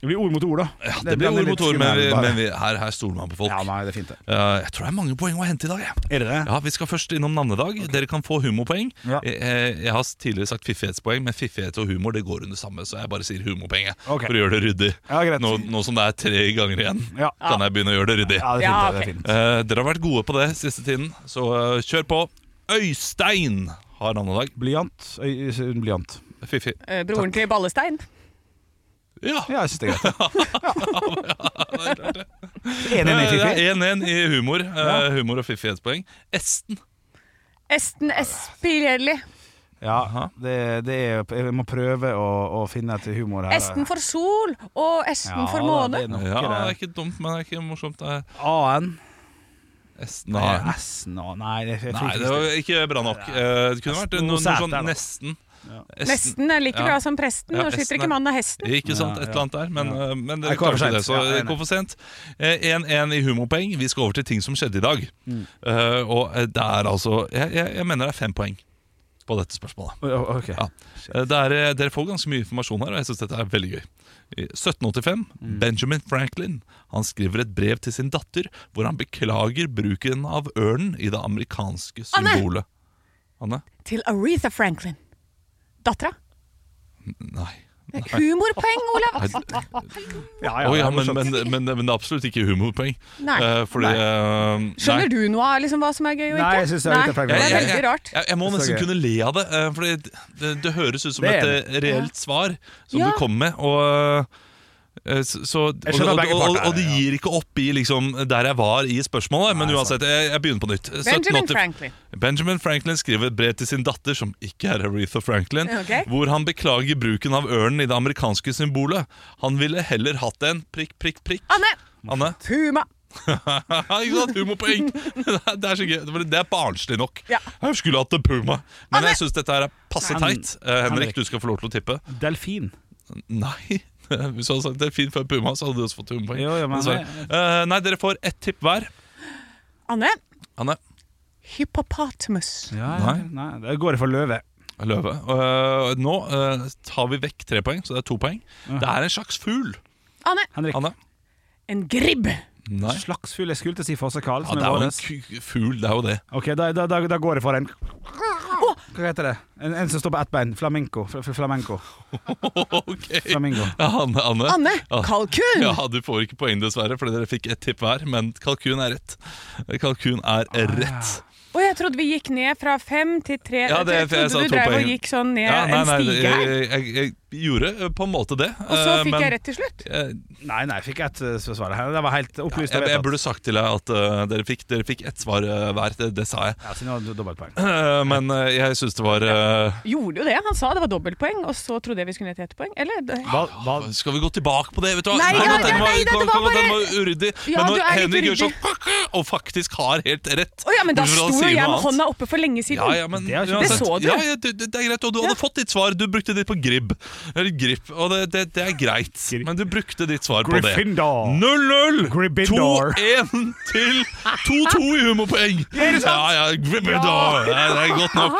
[SPEAKER 2] Det blir ord mot ord, da.
[SPEAKER 3] ja, Det blir
[SPEAKER 2] blander
[SPEAKER 3] ord
[SPEAKER 2] litt
[SPEAKER 3] mot ord, men, vi,
[SPEAKER 2] skummelt,
[SPEAKER 3] men vi, her, her stoler man på folk.
[SPEAKER 2] Ja, nei, det er fint, det.
[SPEAKER 3] Eh, jeg tror det er mange poeng å hente i dag. jeg.
[SPEAKER 2] Er det det?
[SPEAKER 3] Ja, Vi skal først innom navnedag. Dere kan få humorpoeng.
[SPEAKER 2] Ja.
[SPEAKER 3] Jeg, jeg- jeg har tidligere sagt fiffighetspoeng, men fiffighet og humor det går under samme, så jeg bare sier humorpoeng. jeg,
[SPEAKER 2] Ok.
[SPEAKER 3] For å gjøre det ryddig.
[SPEAKER 2] Ja, greit.
[SPEAKER 3] nå, nå som det er tre ganger igjen,
[SPEAKER 2] Ja.
[SPEAKER 3] kan jeg begynne å gjøre det ryddig.
[SPEAKER 2] Ja, det er fint. det, det er
[SPEAKER 4] Ja, ok.
[SPEAKER 2] fint.
[SPEAKER 3] Eh, dere har vært gode på det siste tiden, så eh, kjør på. Øystein har navnedag.
[SPEAKER 2] Blyant. Øy, øy, Blyant.
[SPEAKER 3] Fiffig.
[SPEAKER 4] Eh, Broren til Ballestein.
[SPEAKER 3] Ja,
[SPEAKER 2] Ja, jeg syns det er greit.
[SPEAKER 3] det er klart det.
[SPEAKER 2] Enig, enig,
[SPEAKER 3] Eh,
[SPEAKER 2] fiffig.
[SPEAKER 3] det er 1-1 i humor. Eh, humor og fiffighetspoeng. Esten.
[SPEAKER 4] Esten Espirelli.
[SPEAKER 2] Ja, det, det er, jeg må prøve å, å finne et humor her.
[SPEAKER 4] Esten for sol og Esten
[SPEAKER 2] Ja,
[SPEAKER 4] for
[SPEAKER 2] da,
[SPEAKER 4] måne.
[SPEAKER 2] det er noe
[SPEAKER 3] Ja, det er
[SPEAKER 2] der.
[SPEAKER 3] ikke dumt, men det er ikke morsomt. Det er
[SPEAKER 2] AN.
[SPEAKER 3] Esten. Nei.
[SPEAKER 2] Eh, S-en og Nei, jeg, jeg tror
[SPEAKER 3] Nei,
[SPEAKER 2] ikke
[SPEAKER 3] det
[SPEAKER 2] det
[SPEAKER 3] var ikke bra nok. Eh, Det kunne vært noe,
[SPEAKER 2] Nesten
[SPEAKER 3] noe
[SPEAKER 2] noe sæter,
[SPEAKER 3] sånn
[SPEAKER 2] da.
[SPEAKER 3] nesten. Esten.
[SPEAKER 4] Nesten er like
[SPEAKER 3] Ja.
[SPEAKER 4] bra som presten.
[SPEAKER 3] Ja,
[SPEAKER 4] Nå
[SPEAKER 3] esten
[SPEAKER 4] skyter
[SPEAKER 3] er-
[SPEAKER 4] ikke mannen av hesten.
[SPEAKER 3] Ikke sant,
[SPEAKER 2] Ja,
[SPEAKER 3] et eller
[SPEAKER 2] ja.
[SPEAKER 3] annet der, men, eh, men dere
[SPEAKER 2] Jeg kommer
[SPEAKER 3] klarte
[SPEAKER 2] sent.
[SPEAKER 3] det, så
[SPEAKER 2] Ja, jeg er
[SPEAKER 3] det går for sent. Eh, 1-1 i humorpoeng. Vi skal over til ting som skjedde i dag.
[SPEAKER 2] Mm.
[SPEAKER 3] Eh, Og eh, det er altså jeg, jeg, jeg mener det er fem poeng på dette spørsmålet.
[SPEAKER 2] Å, å, ok.
[SPEAKER 3] Ja. Eh, Det er, eh, dere får ganske mye informasjon her, og jeg syns dette er veldig gøy. I 1785,
[SPEAKER 2] Mm.
[SPEAKER 3] Benjamin Franklin Han skriver et brev til sin datter hvor han beklager bruken av ørnen i det amerikanske
[SPEAKER 4] Anne!
[SPEAKER 3] symbolet. Anne?
[SPEAKER 4] Til Aretha Franklin. Dattera.
[SPEAKER 3] Nei.
[SPEAKER 4] Humorpoeng, Olav!
[SPEAKER 3] Nei,
[SPEAKER 2] Ja, ja,
[SPEAKER 3] Å ja,
[SPEAKER 2] det er
[SPEAKER 3] men,
[SPEAKER 2] morsomt.
[SPEAKER 3] men, men, men det er absolutt ikke humorpoeng.
[SPEAKER 4] Nei.
[SPEAKER 3] Eh, fordi, eh,
[SPEAKER 4] Skjønner
[SPEAKER 3] nei.
[SPEAKER 4] du noe av liksom, hva som er gøy og ikke?
[SPEAKER 2] Nei, jeg synes det er litt
[SPEAKER 4] Nei,
[SPEAKER 2] flaut.
[SPEAKER 4] det
[SPEAKER 3] Jeg,
[SPEAKER 4] er
[SPEAKER 3] jeg,
[SPEAKER 4] veldig
[SPEAKER 3] jeg,
[SPEAKER 4] rart.
[SPEAKER 3] jeg, jeg må
[SPEAKER 2] Det er så
[SPEAKER 3] nesten
[SPEAKER 2] gøy.
[SPEAKER 3] kunne le av det, eh, Fordi det, det høres ut som
[SPEAKER 2] Det er
[SPEAKER 3] et eh, reelt svar som
[SPEAKER 4] Ja.
[SPEAKER 3] du kommer med. Og, eh, s- så, og,
[SPEAKER 2] Jeg
[SPEAKER 3] og,
[SPEAKER 2] skjønner
[SPEAKER 3] og,
[SPEAKER 2] begge
[SPEAKER 3] og,
[SPEAKER 2] parter,
[SPEAKER 3] det
[SPEAKER 2] ja.
[SPEAKER 3] gir ikke opp i liksom, der jeg var i spørsmålet, men uansett, jeg, jeg begynner på nytt.
[SPEAKER 4] Benjamin
[SPEAKER 3] 1780
[SPEAKER 4] Franklin.
[SPEAKER 3] Benjamin Franklin skriver et brev til sin datter, som ikke er Aretha Franklin,
[SPEAKER 4] Ok.
[SPEAKER 3] hvor han beklager bruken av ørnen i det amerikanske symbolet. Han ville heller hatt en prikk, prikk, prikk.
[SPEAKER 4] Anne!
[SPEAKER 3] Anne?
[SPEAKER 4] Puma.
[SPEAKER 3] ikke sant? Humorpoeng! det er så gøy. Det er barnslig nok.
[SPEAKER 4] Ja.
[SPEAKER 3] Jeg skulle hatt en puma. Men jeg syns dette her er passe
[SPEAKER 2] Nei.
[SPEAKER 3] teit. Eh, Henrik,
[SPEAKER 2] Henrik.
[SPEAKER 3] du skal få lov til å tippe.
[SPEAKER 2] Delfin.
[SPEAKER 3] Nei. Hvis du hadde sagt delfin før puma, så hadde du også fått humorpoeng.
[SPEAKER 2] Jo, jo, men-
[SPEAKER 3] Dessverre. Eh, nei, dere får ett tipp hver.
[SPEAKER 4] Anne.
[SPEAKER 3] Anne.
[SPEAKER 4] Hippopotamus.
[SPEAKER 2] Ja,
[SPEAKER 3] Nei.
[SPEAKER 2] nei. nei. Det går jeg for løve.
[SPEAKER 3] Løve. Eh, nå eh, tar vi vekk tre poeng, så det er to poeng. Det er en slags fugl.
[SPEAKER 4] Anne.
[SPEAKER 2] Henrik.
[SPEAKER 3] Anne?
[SPEAKER 4] En gribb.
[SPEAKER 3] Nei.
[SPEAKER 2] Slagsfugl. Jeg skulle til å si fossekal.
[SPEAKER 3] Ja,
[SPEAKER 2] som
[SPEAKER 3] det
[SPEAKER 2] er
[SPEAKER 3] er jo en
[SPEAKER 2] våres.
[SPEAKER 3] ku- fugl, det er jo det.
[SPEAKER 2] Ok, da, da, da, da går jeg for en Hva heter det? En, en som står på ett bein. Flamenco. Fl fl- flamenco.
[SPEAKER 3] Ok.
[SPEAKER 2] Flamingo.
[SPEAKER 3] Ja, Anne, Anne.
[SPEAKER 4] Anne.
[SPEAKER 3] Ja.
[SPEAKER 4] Kalkun.
[SPEAKER 3] Ja, du får ikke poeng dessverre, fordi dere fikk ett tipp hver, men kalkun er rett. Kalkun er
[SPEAKER 4] Ah,
[SPEAKER 3] rett.
[SPEAKER 4] Og jeg trodde vi gikk ned fra fem til tre.
[SPEAKER 3] Ja, det-
[SPEAKER 4] jeg
[SPEAKER 3] for jeg sa
[SPEAKER 4] trodde
[SPEAKER 3] to
[SPEAKER 4] du drev
[SPEAKER 3] poeng.
[SPEAKER 4] og gikk sånn ned
[SPEAKER 3] Ja, nei, nei,
[SPEAKER 4] en stige her.
[SPEAKER 3] jeg, jeg, jeg gjorde eh, på en måte det.
[SPEAKER 4] Og så
[SPEAKER 3] eh,
[SPEAKER 4] fikk
[SPEAKER 3] men,
[SPEAKER 4] jeg rett til slutt.
[SPEAKER 3] eh,
[SPEAKER 2] Nei, nei, jeg fikk ett eh, svar her. Det var helt opplyst.
[SPEAKER 3] Jeg, jeg burde sagt til deg at eh, dere fikk, dere fikk ett svar eh, hver, det, det sa jeg.
[SPEAKER 2] ja, så nå har du dobbeltpoeng.
[SPEAKER 3] Eh, men eh, jeg syns det var eh,
[SPEAKER 4] Gjorde jo det. Han sa det var dobbeltpoeng, og så trodde jeg vi skulle ned til ett poeng. Eller? Det-
[SPEAKER 2] Hva, hva,
[SPEAKER 3] Skal vi gå tilbake på det? vet du hva?
[SPEAKER 4] Nei, ja,
[SPEAKER 3] den
[SPEAKER 4] ja,
[SPEAKER 3] var-
[SPEAKER 4] nei, det-
[SPEAKER 3] kan-
[SPEAKER 4] det var
[SPEAKER 3] kan- Den
[SPEAKER 4] bare-
[SPEAKER 3] var uryddig.
[SPEAKER 4] Ja,
[SPEAKER 3] men
[SPEAKER 4] du
[SPEAKER 3] når
[SPEAKER 4] er litt
[SPEAKER 3] Henrik gjør sånn og faktisk har helt rett
[SPEAKER 4] Å ja, men da
[SPEAKER 3] Hvorfor
[SPEAKER 4] sto
[SPEAKER 3] han sier
[SPEAKER 4] jo jeg
[SPEAKER 3] noe
[SPEAKER 4] med
[SPEAKER 3] annet?
[SPEAKER 4] hånda oppe for lenge siden.
[SPEAKER 3] Ja, ja, men
[SPEAKER 2] Det er ikke-
[SPEAKER 3] uansett-
[SPEAKER 4] Det så du.
[SPEAKER 3] Ja, ja, det, det er greit, og du hadde fått ditt svar. Du brukte ditt på gribb. Eller grip, og det, det, det er greit,
[SPEAKER 2] Grip.
[SPEAKER 3] men du brukte ditt svar på det.
[SPEAKER 2] Gryffindor.
[SPEAKER 3] 0-0!
[SPEAKER 2] Gryffindor.
[SPEAKER 3] 2-1 til 2-2 i humorpoeng. Ja, ja, Gryffindor. Ja, det er godt nok.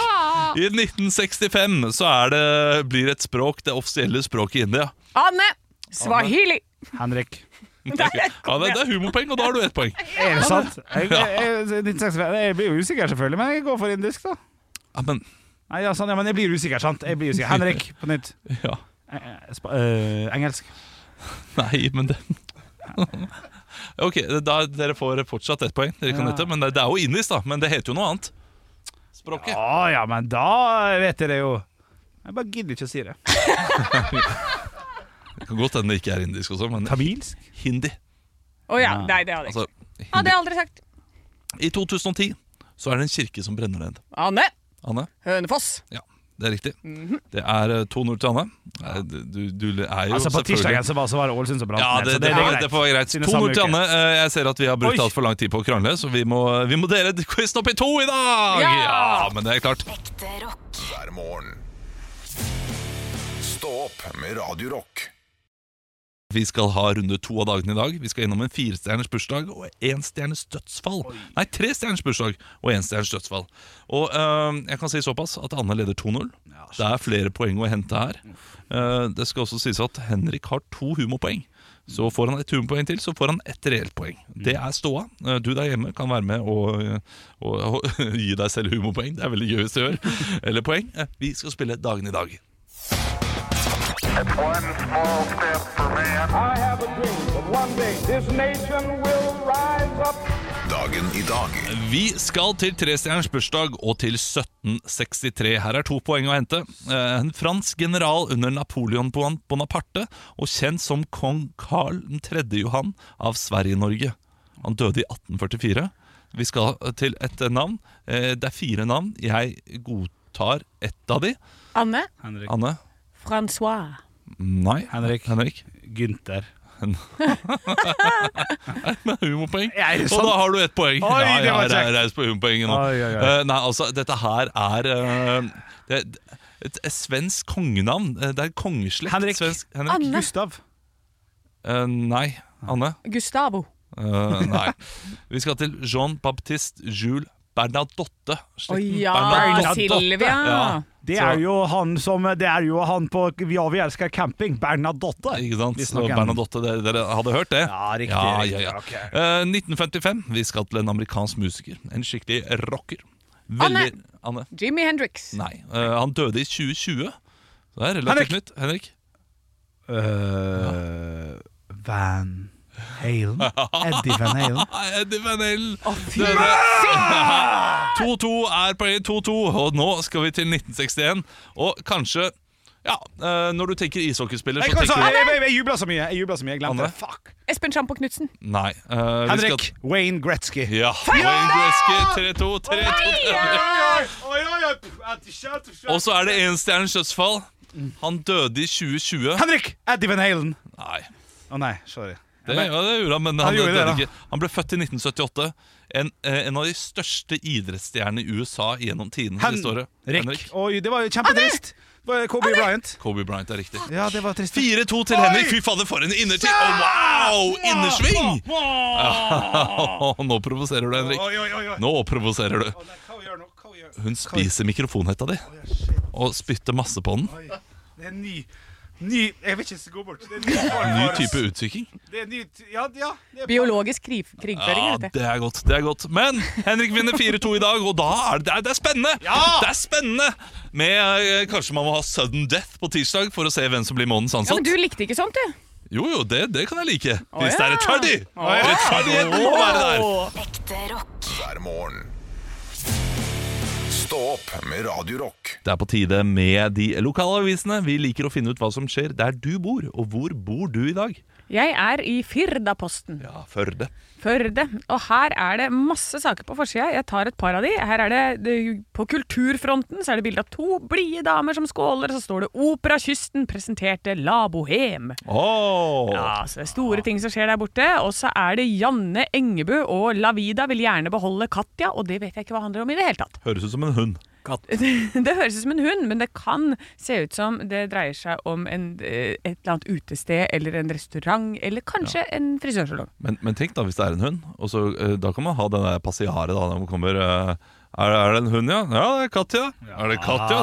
[SPEAKER 3] I 1965 så er det, blir et språk det offisielle språket i India.
[SPEAKER 4] Anne! Swahili.
[SPEAKER 2] Henrik.
[SPEAKER 4] Der
[SPEAKER 3] Ja,
[SPEAKER 4] kom
[SPEAKER 3] det, det
[SPEAKER 4] jeg.
[SPEAKER 3] er humorpoeng, og da har du ett poeng.
[SPEAKER 2] Er det sant? Jeg, jeg, jeg, 1965 jeg blir jo usikker, selvfølgelig, men jeg går for indisk, da.
[SPEAKER 3] Ja, men
[SPEAKER 2] Nei, ja, sånn, ja, men jeg blir usikker, sant? Jeg blir usikker. Henrik, på nytt.
[SPEAKER 3] Ja.
[SPEAKER 2] Eh, eh, spa- eh, engelsk.
[SPEAKER 3] Nei, men det Ok, da, dere får fortsatt ett poeng. Dere kan
[SPEAKER 2] Ja.
[SPEAKER 3] dette, men det, det er jo indisk, da. Men det heter jo noe annet. Språket.
[SPEAKER 2] Å ja, men da vet jeg det jo. Jeg bare gidder ikke å si det.
[SPEAKER 3] Det kan godt hende det ikke er indisk også, men
[SPEAKER 2] Tamilsk?
[SPEAKER 3] hindi.
[SPEAKER 4] Å ja, nei, det hadde jeg ikke.
[SPEAKER 3] Altså,
[SPEAKER 4] Ja, det
[SPEAKER 3] hindi.
[SPEAKER 4] har jeg aldri sagt.
[SPEAKER 3] I 2010 så er det en kirke som brenner ned.
[SPEAKER 4] Anne
[SPEAKER 3] Anne?
[SPEAKER 4] Hønefoss.
[SPEAKER 3] Ja, det er riktig.
[SPEAKER 2] Mhm.
[SPEAKER 3] Det er eh, 2-0 til Anne. Eh, Du, du er jo
[SPEAKER 2] Altså, på
[SPEAKER 3] selvfølgelig-
[SPEAKER 2] tirsdagen så var, så var det Ålesund som brant
[SPEAKER 3] Ja,
[SPEAKER 2] ned,
[SPEAKER 3] det,
[SPEAKER 2] så
[SPEAKER 3] det,
[SPEAKER 2] er
[SPEAKER 3] var, det var greit.
[SPEAKER 2] Siden
[SPEAKER 3] To
[SPEAKER 2] samme
[SPEAKER 3] til
[SPEAKER 2] uke.
[SPEAKER 3] Anne. Eh, Jeg ser at vi har brukt
[SPEAKER 2] Oi.
[SPEAKER 3] altfor lang tid på å krangle, så vi må, vi må dele quizen opp i to i dag!
[SPEAKER 4] Ja!
[SPEAKER 3] men det er klart.
[SPEAKER 5] Ekte rock.
[SPEAKER 1] hver morgen. Stå opp med Radio Rock.
[SPEAKER 3] Vi skal ha runde to av dagen i dag. Vi skal innom en firestjerners bursdag og en stjernes dødsfall. Nei, tre stjerners bursdag og en stjerners dødsfall. Og eh, jeg kan si såpass at Anne leder 2-0. det er flere poeng å hente her. Eh, det skal også sies at Henrik har to humorpoeng. Så får han ett humorpoeng til, så får han ett reelt poeng. Det er ståa. Eh, Du der hjemme kan være med og, og, og gi deg selv humorpoeng. Det er veldig gøy hvis du gjør. Eller poeng. Eh, Vi skal spille Dagen i dag.
[SPEAKER 6] It's one small step for man.
[SPEAKER 7] I have a dream that one day this nation will rise up.
[SPEAKER 1] Dagen i dag
[SPEAKER 3] Vi skal til trestjerners bursdag og til 1763. Her er to poeng å hente. Eh, En fransk general under Napoleon Bon- Bonaparte og kjent som kong Karl 3. Johan av Sverige-Norge. Han døde i 1844. Vi skal til et navn. Eh, Det er fire navn. Jeg godtar ett av de.
[SPEAKER 4] Anne
[SPEAKER 2] Henrik.
[SPEAKER 3] Anne?
[SPEAKER 4] Francois.
[SPEAKER 3] Nei.
[SPEAKER 2] Henrik.
[SPEAKER 3] Henrik.
[SPEAKER 2] Gunther.
[SPEAKER 3] med humorpoeng.
[SPEAKER 2] Ja, er det
[SPEAKER 3] og
[SPEAKER 2] sant?
[SPEAKER 3] da har du ett poeng.
[SPEAKER 2] Oi,
[SPEAKER 3] ja,
[SPEAKER 2] det
[SPEAKER 3] ja,
[SPEAKER 2] var
[SPEAKER 3] jeg er
[SPEAKER 2] kjekt.
[SPEAKER 3] raus på humorpoenget nå.
[SPEAKER 2] Oi, oi, oi.
[SPEAKER 3] Eh, nei, altså, dette her er eh, det, et, et svensk kongenavn. Eh, Det er kongeslekt.
[SPEAKER 2] Henrik.
[SPEAKER 3] Svensk, Henrik.
[SPEAKER 4] Anne
[SPEAKER 2] Gustav.
[SPEAKER 3] Eh, nei. Anne?
[SPEAKER 4] Gustavo.
[SPEAKER 3] Eh, nei. Vi skal til Jean Baptiste Jules Bernadotte.
[SPEAKER 4] Å
[SPEAKER 3] Slekten
[SPEAKER 4] ja,
[SPEAKER 3] Bernadotte.
[SPEAKER 4] Silvia.
[SPEAKER 3] Ja.
[SPEAKER 2] Det er jo han som Det er jo han på Ja, vi elsker camping. Bernadotte.
[SPEAKER 3] Ikke sant?
[SPEAKER 2] Vi
[SPEAKER 3] Så
[SPEAKER 2] snakker-
[SPEAKER 3] Bernadotte, dere, dere hadde hørt det?
[SPEAKER 2] Ja, riktig,
[SPEAKER 3] Ja,
[SPEAKER 2] riktig,
[SPEAKER 3] ja, ja.
[SPEAKER 2] ok.
[SPEAKER 3] Eh, 1955. Vi skal til en amerikansk musiker. En skikkelig rocker.
[SPEAKER 4] Anne.
[SPEAKER 3] Anne.
[SPEAKER 4] Jimmy Hendrix.
[SPEAKER 3] Nei, eh, han døde i 2020 Så det er
[SPEAKER 2] Henrik!
[SPEAKER 3] relativt nytt Henrik
[SPEAKER 2] Øh, Van Halen. Eddie Van Halen.
[SPEAKER 3] Nei, Eddie Van Halen
[SPEAKER 4] fy
[SPEAKER 3] Døde. 2-2 er poenget 2-2 Og nå skal vi til 1961 Og kanskje ja, eh, når du tenker ishockeyspiller
[SPEAKER 2] Jeg,
[SPEAKER 3] så
[SPEAKER 2] jeg,
[SPEAKER 3] tenker du
[SPEAKER 2] jeg, jeg jubla så mye, jeg jubla så mye, jeg
[SPEAKER 3] Anne?
[SPEAKER 2] glemte det. Fuck.
[SPEAKER 4] Espen Sjampo Knutsen.
[SPEAKER 3] Nei eh, vi
[SPEAKER 2] Henrik
[SPEAKER 3] skal,
[SPEAKER 2] Wayne Gretzky.
[SPEAKER 3] Ja, Wayne Gretzky 3-2 3-2 Og så er det en stjernens dødsfall Han døde i 2020
[SPEAKER 2] Henrik Eddie Van Halen.
[SPEAKER 3] Nei
[SPEAKER 2] Å nei, sorry.
[SPEAKER 3] Det, ja, det gjorde han, men
[SPEAKER 2] Han
[SPEAKER 3] han,
[SPEAKER 2] gjorde det,
[SPEAKER 3] døde
[SPEAKER 2] da.
[SPEAKER 3] ikke. Han ble født i 1978. En, eh, en av de største idrettsstjernene i USA gjennom tidene.
[SPEAKER 2] Hen-
[SPEAKER 3] siste året.
[SPEAKER 2] Henrik.
[SPEAKER 3] Henrik.
[SPEAKER 2] Oi, det var jo kjempetrist. Det var Kobe Bryant.
[SPEAKER 3] Kobe Bryant er riktig.
[SPEAKER 2] Ja, det var trist.
[SPEAKER 3] 4-2 til Henrik. Fy fader, for en innertid! Å, wow! Innersving! nå provoserer du, Henrik.
[SPEAKER 2] oi, oi, oi.
[SPEAKER 3] Nå provoserer du. Hun spiser mikrofonhetta di og spytter masse på den.
[SPEAKER 2] Det er en ny Ny Jeg vil ikke gå bort. Det er en ny, form
[SPEAKER 3] Ny
[SPEAKER 2] for-
[SPEAKER 3] type utsyking.
[SPEAKER 2] Det er en ny ty- Ja, ja. Det er
[SPEAKER 4] Biologisk krig, krigføring.
[SPEAKER 3] Ja,
[SPEAKER 4] vet du.
[SPEAKER 3] det er godt. det er godt Men Henrik vinner 4-2 i dag, og da er det, det, er, det er spennende! Det er spennende Med eh, Kanskje man må ha sudden death på tirsdag for å se hvem som blir månedens
[SPEAKER 4] Ja, men
[SPEAKER 3] ansatt.
[SPEAKER 4] du likte ikke sånt, du.
[SPEAKER 3] Jo, jo, det, det kan jeg like. Hvis det
[SPEAKER 4] ja.
[SPEAKER 3] er rettferdig!
[SPEAKER 4] Å, ja.
[SPEAKER 3] Rettferdigheten må være der!
[SPEAKER 5] Ekte rock.
[SPEAKER 1] hver morgen. Stå opp med Radio Rock.
[SPEAKER 3] Det er på tide med de lokale avisene. Vi liker å finne ut hva som skjer der du bor. Og hvor bor du i dag?
[SPEAKER 4] Jeg er i Firdaposten,
[SPEAKER 3] Ja, Førde.
[SPEAKER 4] Førde. Og her er det masse saker på forsida. Jeg tar et par av de. Her er det, det På kulturfronten så er det bilde av to blide damer som skåler. Så står det 'Operakysten presenterte La Bohème'.
[SPEAKER 3] Oh.
[SPEAKER 4] Ja, så det er store ting som skjer der borte. Og så er det Janne Engebø og Lavida vil gjerne beholde Katja, og det vet jeg ikke hva handler om i det hele tatt.
[SPEAKER 3] Høres ut som en hund.
[SPEAKER 4] Det høres ut som en hund, men det kan se ut som det dreier seg om en, eh, et eller annet utested eller en restaurant, eller kanskje en frisørsalong.
[SPEAKER 3] Men, men tenk da hvis det er en hund. Og så, eh, da kan man ha det der passiaret da, når man kommer eh, Er, er det en hund, ja? Ja, det er katt, ja. Er det katt, ja?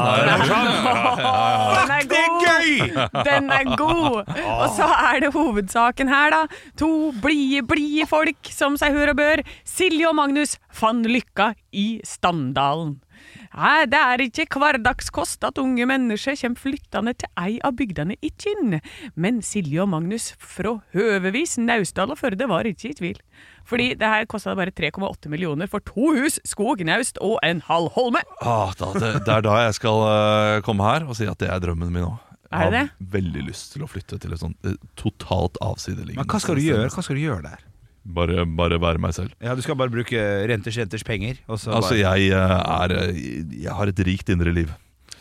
[SPEAKER 3] Nei, det er hund, ja.
[SPEAKER 4] Den er god! Den er god! Og så er det hovedsaken her, da. To blide, blide folk som seg hør og bør. Silje og Magnus fant lykka i Standalen. Nei, det er ikke hverdagskost at unge mennesker kommer flyttende til ei av bygdene i Kinn. Men Silje og Magnus fra høvevis Naustdal og Førde var ikke i tvil. Fordi det her kosta bare 3,8 millioner for to hus, skog, naust og en halv holme.
[SPEAKER 3] Ah, da, det, det er da jeg skal eh, komme her og si at det er drømmen min òg. Jeg
[SPEAKER 4] Er
[SPEAKER 3] har
[SPEAKER 4] det
[SPEAKER 3] veldig lyst til å flytte til et sånt eh, totalt avsideliggende
[SPEAKER 2] Men hva skal du
[SPEAKER 3] sted.
[SPEAKER 2] gjøre, hva skal du gjøre der?
[SPEAKER 3] Bare, bare være meg selv.
[SPEAKER 2] Ja, Du skal bare bruke renters renters penger. Og så
[SPEAKER 3] Altså,
[SPEAKER 2] bare,
[SPEAKER 3] jeg eh, er eh, Jeg har et rikt indre liv.